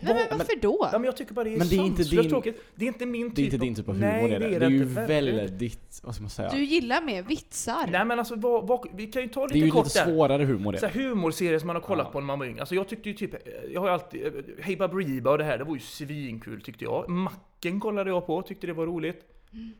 [SPEAKER 3] Nej, men varför då?
[SPEAKER 1] Ja, men jag tycker bara det är
[SPEAKER 2] Men det är inte
[SPEAKER 1] sanslöst
[SPEAKER 2] din-
[SPEAKER 1] tråkigt. Det är inte min typ
[SPEAKER 2] Det är inte din typ av humor
[SPEAKER 1] Nej,
[SPEAKER 2] är det. Det är ju
[SPEAKER 1] inte.
[SPEAKER 2] väldigt, vad ska man säga?
[SPEAKER 3] Du gillar mer vitsar.
[SPEAKER 1] Nej men alltså, vad, vad, vi kan ju ta lite
[SPEAKER 2] Det är ju
[SPEAKER 1] kort
[SPEAKER 2] lite
[SPEAKER 1] där.
[SPEAKER 2] svårare humor det.
[SPEAKER 1] Så här, humorserier som man har kollat
[SPEAKER 2] Ja.
[SPEAKER 1] på när man var yngre. Alltså jag tyckte ju typ, eh, jag har ju alltid, eh, Hey Baberiba och det här, det var ju svinkul tyckte jag. Macken kollade jag på, tyckte det var roligt.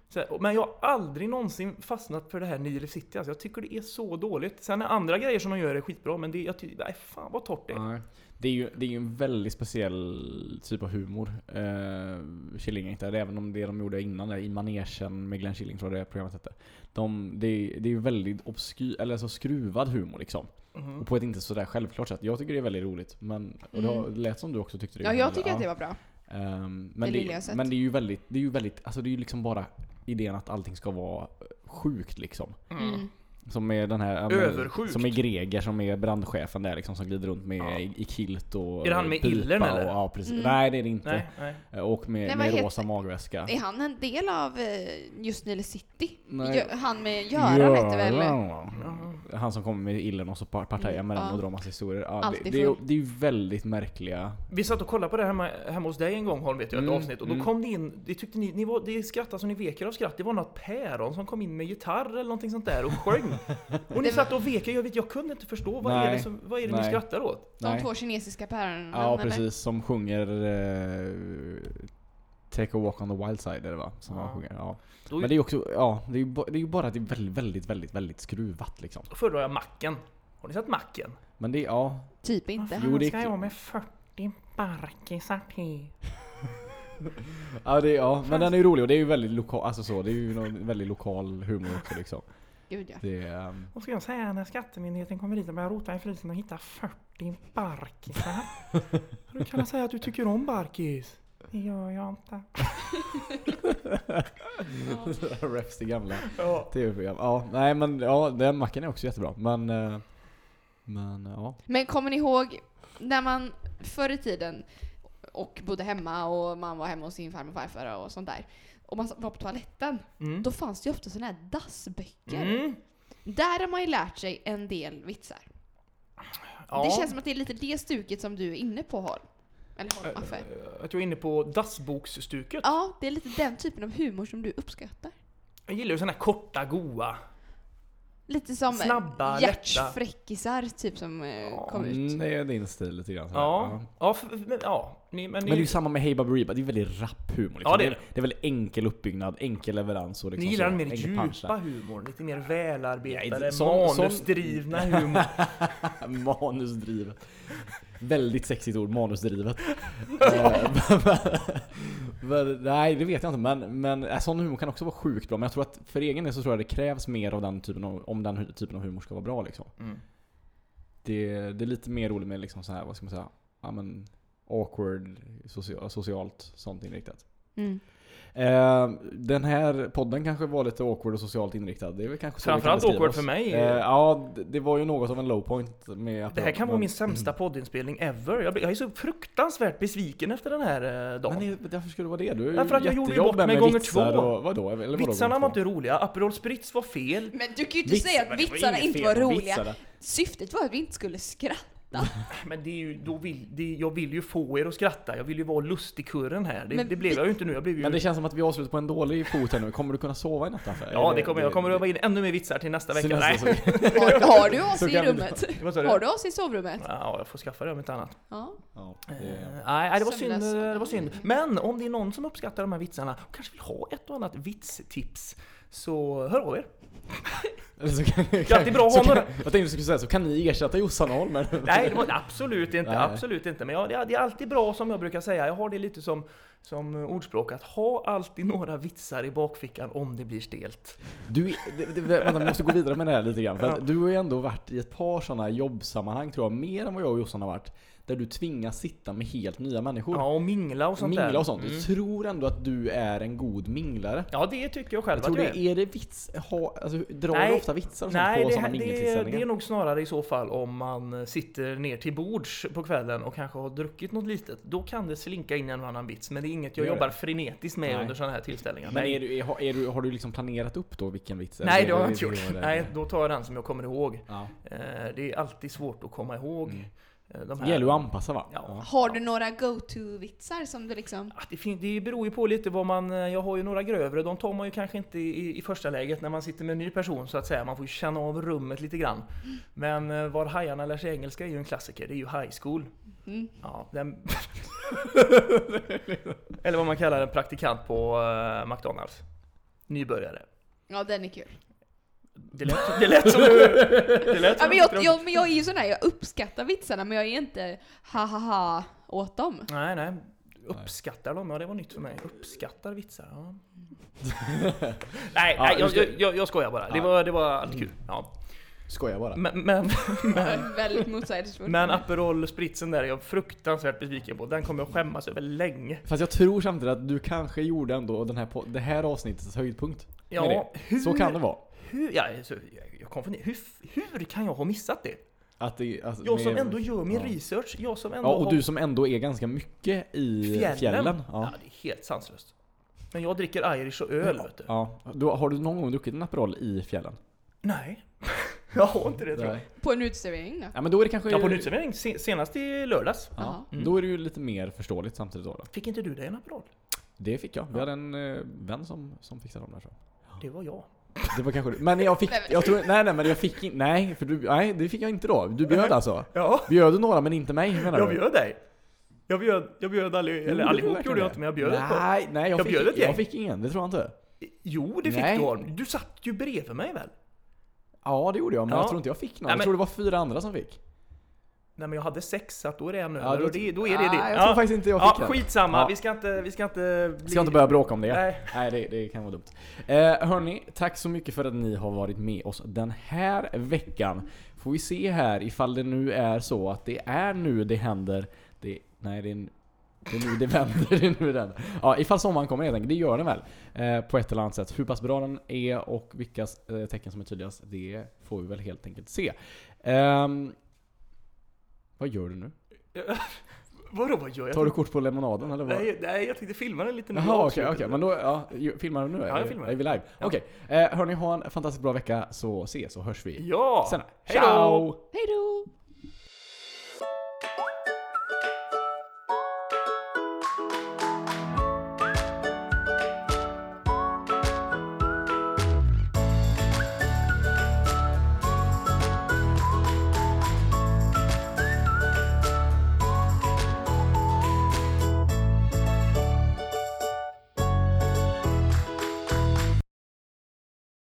[SPEAKER 1] Så här, och- men jag har aldrig någonsin fastnat för det här New Life City. Alltså, jag tycker det är så dåligt. Sen är andra grejer som de gör är skitbra, men det, jag tycker, nej fan vad torrt det är.
[SPEAKER 2] Nej. Det är, ju, det är ju en väldigt speciell typ av humor. Eh, Killing inte det, även om det de gjorde innan där, i manegen med Glenn Killing tror jag det programmet hette. De, det, är- det är ju väldigt obskyr, eller så skruvad humor liksom.
[SPEAKER 1] Mhm.
[SPEAKER 2] Och på ett inte sådär självklart sätt. Jag tycker det är väldigt roligt. Men, och det har-
[SPEAKER 3] Mm.
[SPEAKER 2] lät som du också tyckte det.
[SPEAKER 3] Ja,
[SPEAKER 2] var
[SPEAKER 3] jag
[SPEAKER 2] roligt.
[SPEAKER 3] tycker att det
[SPEAKER 2] Ja.
[SPEAKER 3] var bra.
[SPEAKER 2] Ehm,
[SPEAKER 3] Det
[SPEAKER 2] men, det
[SPEAKER 3] lilla jag sett.
[SPEAKER 2] men det är ju väldigt, det är ju väldigt, alltså det är ju liksom bara idén att allting ska vara eh, sjukt liksom.
[SPEAKER 1] Mm.
[SPEAKER 3] Mm.
[SPEAKER 2] Som är den här... ja, men-
[SPEAKER 1] Översjukt.
[SPEAKER 2] Som är Greger som är brandchefen där liksom som glider runt med
[SPEAKER 1] Ja.
[SPEAKER 2] i, i kilt och eh,
[SPEAKER 1] Är det han med
[SPEAKER 2] pipa
[SPEAKER 1] illen,
[SPEAKER 2] och,
[SPEAKER 1] eller?
[SPEAKER 2] Ja precis.
[SPEAKER 3] Mm.
[SPEAKER 2] Nej det är det inte. Eh,
[SPEAKER 1] Nej, nej.
[SPEAKER 2] Och med,
[SPEAKER 3] Nej, vad
[SPEAKER 2] med
[SPEAKER 3] heter-
[SPEAKER 2] rosa magväska.
[SPEAKER 3] Är han en del av eh, just Nile City?
[SPEAKER 2] Nej.
[SPEAKER 3] Gö- Han med Göran hette väl?
[SPEAKER 1] Jaha.
[SPEAKER 2] Han som kommer med illen och så par- partajar
[SPEAKER 3] Mm,
[SPEAKER 2] med den
[SPEAKER 3] ja.
[SPEAKER 2] och drar massa historier. Ja, det,
[SPEAKER 3] Alltid
[SPEAKER 2] det, är, ju-
[SPEAKER 3] full.
[SPEAKER 2] det är ju väldigt märkliga...
[SPEAKER 1] Vi satt och kollade på det här hemma, hemma hos dig en gång Holm, vet jag, ett
[SPEAKER 2] Mm,
[SPEAKER 1] avsnitt. Och då
[SPEAKER 2] mm.
[SPEAKER 1] kom det in, det tyckte ni, ni var, det skrattade som ni vek er av skratt. Det var något päron som kom in med gitarr eller någonting sånt där och
[SPEAKER 2] <laughs>
[SPEAKER 1] sjöng. Och ni
[SPEAKER 3] Det var-
[SPEAKER 1] satt och vek er, jag, vet, jag kunde inte förstå, vad är
[SPEAKER 2] Nej.
[SPEAKER 1] det, som, vad är det ni
[SPEAKER 2] Nej.
[SPEAKER 1] skrattar åt?
[SPEAKER 3] De två kinesiska päronen?
[SPEAKER 2] Ja
[SPEAKER 3] eller?
[SPEAKER 2] precis, som sjunger eh, Take a walk on the wild side eller va? Som
[SPEAKER 1] Ja.
[SPEAKER 2] han sjunger. Ja.
[SPEAKER 1] Då-
[SPEAKER 2] Men det är ju också, ja, det är ju ba- det är ju bara att det är väldigt, väldigt, väldigt, väldigt skruvat liksom.
[SPEAKER 1] Då föredrar jag macken. Har ni sett macken?
[SPEAKER 2] Men det, är- ja,
[SPEAKER 3] Typ inte.
[SPEAKER 2] Jo, det är ska jag
[SPEAKER 1] med 40 barkisar till?
[SPEAKER 2] Ja, det, ja men den är ju rolig och det är ju väldigt lokal, alltså så, det är ju någon väldigt lokal humor också liksom.
[SPEAKER 3] Gud ja.
[SPEAKER 2] Det är, ehm, <laughs>
[SPEAKER 1] Vad ska jag säga när skattemyndigheten kommer hit och börjar rota i frysen och hittar 40
[SPEAKER 2] <laughs>
[SPEAKER 1] barkisar? Hur kan jag säga att du tycker om barkis? Det gör jag inte.
[SPEAKER 2] refs till gamla
[SPEAKER 1] Ja.
[SPEAKER 2] tv-program. Ja, nej men ja, den macken är också jättebra. Men, eh, men ja.
[SPEAKER 3] Men kommer ni ihåg när man förr i tiden och bodde hemma och man var hemma hos sin farmor och farfar och sånt där. Och man var på toaletten.
[SPEAKER 1] Mm.
[SPEAKER 3] Då fanns det ju ofta såna här dassböcker.
[SPEAKER 1] Mm.
[SPEAKER 3] Där har man ju lärt sig en del vitsar.
[SPEAKER 1] Ja.
[SPEAKER 3] Det känns som att det är lite det stuket som du är inne på Holm. Eller Holm Affe.
[SPEAKER 1] Eh, Att jag är inne på dassboksstuket.
[SPEAKER 3] Ja, det är lite den typen av humor som du uppskattar.
[SPEAKER 1] Jag gillar ju såna här korta, goa.
[SPEAKER 3] Lite som eh,
[SPEAKER 1] Snabba,
[SPEAKER 3] hjärtfräckisar typ som eh, kom ut.
[SPEAKER 2] Mm, det är din stil lite grann. så här.
[SPEAKER 1] Ja. Ja, f- f- men, ja. Ni, men
[SPEAKER 2] Men det är
[SPEAKER 1] ni,
[SPEAKER 2] ju samma med Hey Baberiba, det är väldigt rapp humor. Liksom.
[SPEAKER 1] Ja, det är
[SPEAKER 2] det, är, det är väldigt enkel uppbyggnad, enkel leverans och liksom
[SPEAKER 1] ni gillar
[SPEAKER 2] så,
[SPEAKER 1] den mer
[SPEAKER 2] enkel punch
[SPEAKER 1] djupa
[SPEAKER 2] där.
[SPEAKER 1] humorn, lite mer välarbetade,
[SPEAKER 2] Ja, sån- Mm. sån-
[SPEAKER 1] manusdrivna
[SPEAKER 2] <laughs>
[SPEAKER 1] humor.
[SPEAKER 2] <laughs>
[SPEAKER 1] Mm.
[SPEAKER 2] Manusdrivet. Väldigt sexigt ord,
[SPEAKER 1] <laughs>
[SPEAKER 2] manusdrivet. <laughs> men, nej, det vet jag inte. Men, men äh, sån humor kan också vara sjukt bra. Men jag tror att för egen del så tror jag det krävs mer av den typen av, om den hu- typen av humor ska vara bra liksom.
[SPEAKER 1] Mm.
[SPEAKER 2] Det, det är lite mer roligt med liksom så här, vad ska man säga, ja men awkward, socia- socialt, sånt inriktat.
[SPEAKER 3] Mm.
[SPEAKER 2] Eh, den här podden kanske var lite awkward och socialt inriktad. Det är väl kanske så vi kan
[SPEAKER 1] Framförallt
[SPEAKER 2] beskriva
[SPEAKER 1] awkward
[SPEAKER 2] oss.
[SPEAKER 1] för mig.
[SPEAKER 2] Eh, ja, det- det var ju något av en low point med att
[SPEAKER 1] Det här kan
[SPEAKER 2] men- mm.
[SPEAKER 1] vara min sämsta poddinspelning ever. Jag, blir- jag är så fruktansvärt besviken efter den här eh, dagen.
[SPEAKER 2] Men det, varför skulle det vara det? Du är
[SPEAKER 1] Därför att jag gjorde ju bort
[SPEAKER 2] jättejobben
[SPEAKER 1] mig
[SPEAKER 2] med
[SPEAKER 1] gånger
[SPEAKER 2] vitsar
[SPEAKER 1] två.
[SPEAKER 2] Och, vadå? Eller vadå,
[SPEAKER 1] Vitsarna
[SPEAKER 2] gånger
[SPEAKER 1] var
[SPEAKER 2] två?
[SPEAKER 1] inte roliga, Aperol Spritz var fel.
[SPEAKER 3] Men du kan ju inte
[SPEAKER 2] Vitsar-
[SPEAKER 3] säga att
[SPEAKER 2] men det var
[SPEAKER 3] vitsarna
[SPEAKER 2] inget
[SPEAKER 3] inte
[SPEAKER 2] fel
[SPEAKER 3] var
[SPEAKER 2] med
[SPEAKER 3] roliga.
[SPEAKER 2] vitsarna.
[SPEAKER 1] Mm.
[SPEAKER 3] Syftet var att vi inte
[SPEAKER 2] <laughs>
[SPEAKER 3] skulle skratta.
[SPEAKER 1] Men det är ju, då vill, det, jag vill ju få er att skratta, jag vill ju vara lustigkurren här. Det,
[SPEAKER 3] Men
[SPEAKER 1] det blev
[SPEAKER 3] vi-
[SPEAKER 1] jag ju inte nu, jag blev ju...
[SPEAKER 2] Men det känns som att vi avslutar på en dålig fot här nu. Kommer du kunna sova i natt? Affe?
[SPEAKER 1] ja,
[SPEAKER 2] Eller-
[SPEAKER 1] det kommer, jag kommer att vara in ännu mer vitsar till nästa vecka.
[SPEAKER 2] Sen
[SPEAKER 1] Nej.
[SPEAKER 2] nästa så-
[SPEAKER 3] Har, har du AC
[SPEAKER 2] Så
[SPEAKER 3] i
[SPEAKER 2] kan vi
[SPEAKER 3] rummet?
[SPEAKER 1] Vad sa du?
[SPEAKER 3] Har du AC i sovrummet?
[SPEAKER 1] Ja, jag får skaffa det om inte annat.
[SPEAKER 3] Ja.
[SPEAKER 2] Ja,
[SPEAKER 1] Eh,
[SPEAKER 2] det-
[SPEAKER 1] nej, nej, det var, synd,
[SPEAKER 3] Sömnlös.
[SPEAKER 1] det var synd. Men om det är någon som uppskattar de här vitsarna och kanske vill ha ett och annat vitstips så hör av er.
[SPEAKER 2] eller <laughs> så kan-
[SPEAKER 1] Det är alltid bra att
[SPEAKER 2] så
[SPEAKER 1] ha
[SPEAKER 2] kan-
[SPEAKER 1] några.
[SPEAKER 2] Jag tänkte du skulle säga så kan ni ersätta Jossan Holm men-
[SPEAKER 1] Nej, det var absolut inte.
[SPEAKER 2] Nej.
[SPEAKER 1] Absolut inte. Men ja, det, är- det är alltid bra som jag brukar säga. Jag har det lite som, som ordspråk att ha alltid några vitsar i bakfickan om det blir stelt.
[SPEAKER 2] Du, det, det, vänta, vi måste gå vidare med det här lite grann. För
[SPEAKER 1] Ja.
[SPEAKER 2] att du har ju ändå varit i ett par sådana jobbsammanhang tror jag, mer än vad jag och Jossan har varit. Där du tvingas sitta med helt nya människor.
[SPEAKER 1] Ja, och mingla och sånt där.
[SPEAKER 2] mingla och sånt.
[SPEAKER 1] Mm.
[SPEAKER 2] Jag tror ändå att du är en god minglare.
[SPEAKER 1] Ja, det tycker jag själv
[SPEAKER 2] Jag tror
[SPEAKER 1] att jag
[SPEAKER 2] det, är det vits, ha, alltså, drar
[SPEAKER 1] Nej.
[SPEAKER 2] du ofta vitsar och sånt
[SPEAKER 1] Nej,
[SPEAKER 2] på
[SPEAKER 1] det,
[SPEAKER 2] sådana
[SPEAKER 1] det, är- det är
[SPEAKER 2] mingeltillställningar?
[SPEAKER 1] nog snarare i så fall om man eh, sitter ner till bords på kvällen och kanske har druckit något litet. Då kan det slinka in en och annan vits, men det är inget jag
[SPEAKER 2] Gör det?
[SPEAKER 1] jobbar frenetiskt med
[SPEAKER 2] Nej.
[SPEAKER 1] under sådana här tillställningar.
[SPEAKER 2] Men
[SPEAKER 1] Nej.
[SPEAKER 2] är du, är, har- är du, har du liksom planerat upp då vilken vits?
[SPEAKER 1] Nej,
[SPEAKER 2] Eller
[SPEAKER 1] det har
[SPEAKER 2] är
[SPEAKER 1] jag inte
[SPEAKER 2] det-
[SPEAKER 1] gjort.
[SPEAKER 2] det-
[SPEAKER 1] Nej, då tar jag den som jag kommer ihåg.
[SPEAKER 2] Ja.
[SPEAKER 1] Eh, Det är alltid svårt att komma ihåg.
[SPEAKER 2] Mm.
[SPEAKER 1] eh, De
[SPEAKER 2] Det gäller ju att anpassa va?
[SPEAKER 1] Ja.
[SPEAKER 3] Har du några go-to-vitsar som du liksom...
[SPEAKER 1] Ah, Det, fin- det beror ju på lite vad man... eh, Jag har ju några grövre, de tar man ju kanske inte i, i första läget när man sitter med en ny person så att säga. Man får ju känna av rummet lite grann. Men eh, Var hajarna lär sig engelska är ju en klassiker, det är ju high school.
[SPEAKER 3] Mm.
[SPEAKER 1] Ja, den... <laughs> Eller vad man kallar en praktikant på eh, McDonalds. nybörjare.
[SPEAKER 3] Ja den är kul.
[SPEAKER 1] Det lät, det
[SPEAKER 3] <laughs>
[SPEAKER 1] lät som du... Det lät
[SPEAKER 3] Ja,
[SPEAKER 1] som
[SPEAKER 3] men,
[SPEAKER 1] du
[SPEAKER 3] jag,
[SPEAKER 1] tyckte om-
[SPEAKER 3] jag, men jag är ju sån här, jag uppskattar vitsarna men jag är inte ha ha ha åt dem.
[SPEAKER 1] Nej, nej. Uppskattar dem? Ja, det var nytt för mig. Uppskattar vitsar? Ja.
[SPEAKER 2] <laughs>
[SPEAKER 1] nej,
[SPEAKER 2] Ja,
[SPEAKER 1] nej jag,
[SPEAKER 2] just det.
[SPEAKER 1] jag, jag, jag skojar bara. Det
[SPEAKER 2] Ja. Mm.
[SPEAKER 1] var, det var allt kul. Ja.
[SPEAKER 2] Skojar bara.
[SPEAKER 1] Men,
[SPEAKER 2] <laughs>
[SPEAKER 1] men, men,
[SPEAKER 3] Väldigt motsägelsefullt.
[SPEAKER 1] men Aperol spritsen där är jag fruktansvärt besviken på. Den kommer jag skämmas över länge.
[SPEAKER 2] Fast jag tror samtidigt att du kanske gjorde ändå den här, po- det här avsnittets höjdpunkt. med
[SPEAKER 1] Ja, hur,
[SPEAKER 2] det. Så kan det vara.
[SPEAKER 1] Hur, ja, så, jag- jag kom för, hur, hur kan jag ha missat det?
[SPEAKER 2] Att det, alltså,
[SPEAKER 1] Jag som
[SPEAKER 2] med-
[SPEAKER 1] ändå gör min
[SPEAKER 2] ja.
[SPEAKER 1] research, jag som ändå
[SPEAKER 2] Ja, och
[SPEAKER 1] har
[SPEAKER 2] du som ändå är ganska mycket i
[SPEAKER 1] fjällen.
[SPEAKER 2] fjällen.
[SPEAKER 1] Ja.
[SPEAKER 2] Ja.
[SPEAKER 1] det är helt sanslöst. Men jag dricker Irish och öl, vet du.
[SPEAKER 2] Ja. Du, har du någon gång druckit en Aperol i fjällen?
[SPEAKER 1] Nej. <laughs> Jag har inte det tror jag.
[SPEAKER 3] På en uteservering då.
[SPEAKER 2] Ja, men då är det kanske...
[SPEAKER 1] Ja, på en utservering se- senast i lördags.
[SPEAKER 2] Ja.
[SPEAKER 3] Jaha.
[SPEAKER 2] Då är det ju lite mer förståeligt samtidigt då. då.
[SPEAKER 1] Fick inte du dig en Aperol?
[SPEAKER 2] Det fick jag. Vi hade en eh, vän som, som fixade dem där så.
[SPEAKER 1] Det var jag.
[SPEAKER 2] Det var kanske du. Men jag fick... Jag tror, <laughs> nej, nej, men jag fick inte... Nej, för du, nej, det fick jag inte då. Du bjöd alltså?
[SPEAKER 1] Ja,
[SPEAKER 2] Bjöd du några men inte mig menar
[SPEAKER 1] jag
[SPEAKER 2] du?
[SPEAKER 1] bjöd dig. Jag bjöd, jag bjöd alli, eller
[SPEAKER 2] Gjorde du
[SPEAKER 1] allihop
[SPEAKER 2] verkligen
[SPEAKER 1] gjorde jag
[SPEAKER 2] det?
[SPEAKER 1] inte, men jag bjöd ett par.
[SPEAKER 2] Nej, nej jag,
[SPEAKER 1] Jag
[SPEAKER 2] fick,
[SPEAKER 1] bjöd ett gäng.
[SPEAKER 2] jag fick ingen. Det tror jag inte.
[SPEAKER 1] Jo, det fick
[SPEAKER 2] Nej.
[SPEAKER 1] du Holm. Du satt ju bredvid mig väl?
[SPEAKER 2] Ja, det gjorde jag. Men
[SPEAKER 1] Ja.
[SPEAKER 2] jag tror inte jag fick någon.
[SPEAKER 1] Nej, men-
[SPEAKER 2] Jag tror det var fyra andra som fick.
[SPEAKER 1] Nej, men jag hade sex, så att då är det en
[SPEAKER 2] Ja,
[SPEAKER 1] över
[SPEAKER 2] då-
[SPEAKER 1] och det, då är det det.
[SPEAKER 2] Ah, jag tror faktiskt inte jag fick
[SPEAKER 1] ja,
[SPEAKER 2] den.
[SPEAKER 1] skitsamma.
[SPEAKER 2] Ja.
[SPEAKER 1] Vi ska inte, vi ska inte bli...
[SPEAKER 2] Ska inte börja bråka om det.
[SPEAKER 1] Nej. <laughs>
[SPEAKER 2] Nej, det, det kan vara dumt. Eh, hörni, tack så mycket för att ni har varit med oss den här veckan. Får vi se här ifall det nu är så att det är nu det händer. Det, nej, det är, n- det är nu det vänder. <laughs> Det är nu den. Ja, ifall sommaren kommer helt enkelt. Det gör den väl? Eh, på ett eller annat sätt. Hur pass bra den är och vilka eh, tecken som är tydligast, det får vi väl helt enkelt se. Ehm, vad gör du nu?
[SPEAKER 1] Vadå, vad gör jag?
[SPEAKER 2] Tar du kort på lemonaden eller vad?
[SPEAKER 1] Nej, nej, jag tänkte filma den lite nu.
[SPEAKER 2] Jaha okej, okej. Men då, ja, ju- filmar du nu?
[SPEAKER 1] Ja, jag filmar.
[SPEAKER 2] Är vi live?
[SPEAKER 1] Ja.
[SPEAKER 2] Okej. Eh, hörni, ha en fantastiskt bra vecka så ses och hörs vi
[SPEAKER 1] Ja!
[SPEAKER 2] sen.
[SPEAKER 1] Hej då!
[SPEAKER 3] Hej då!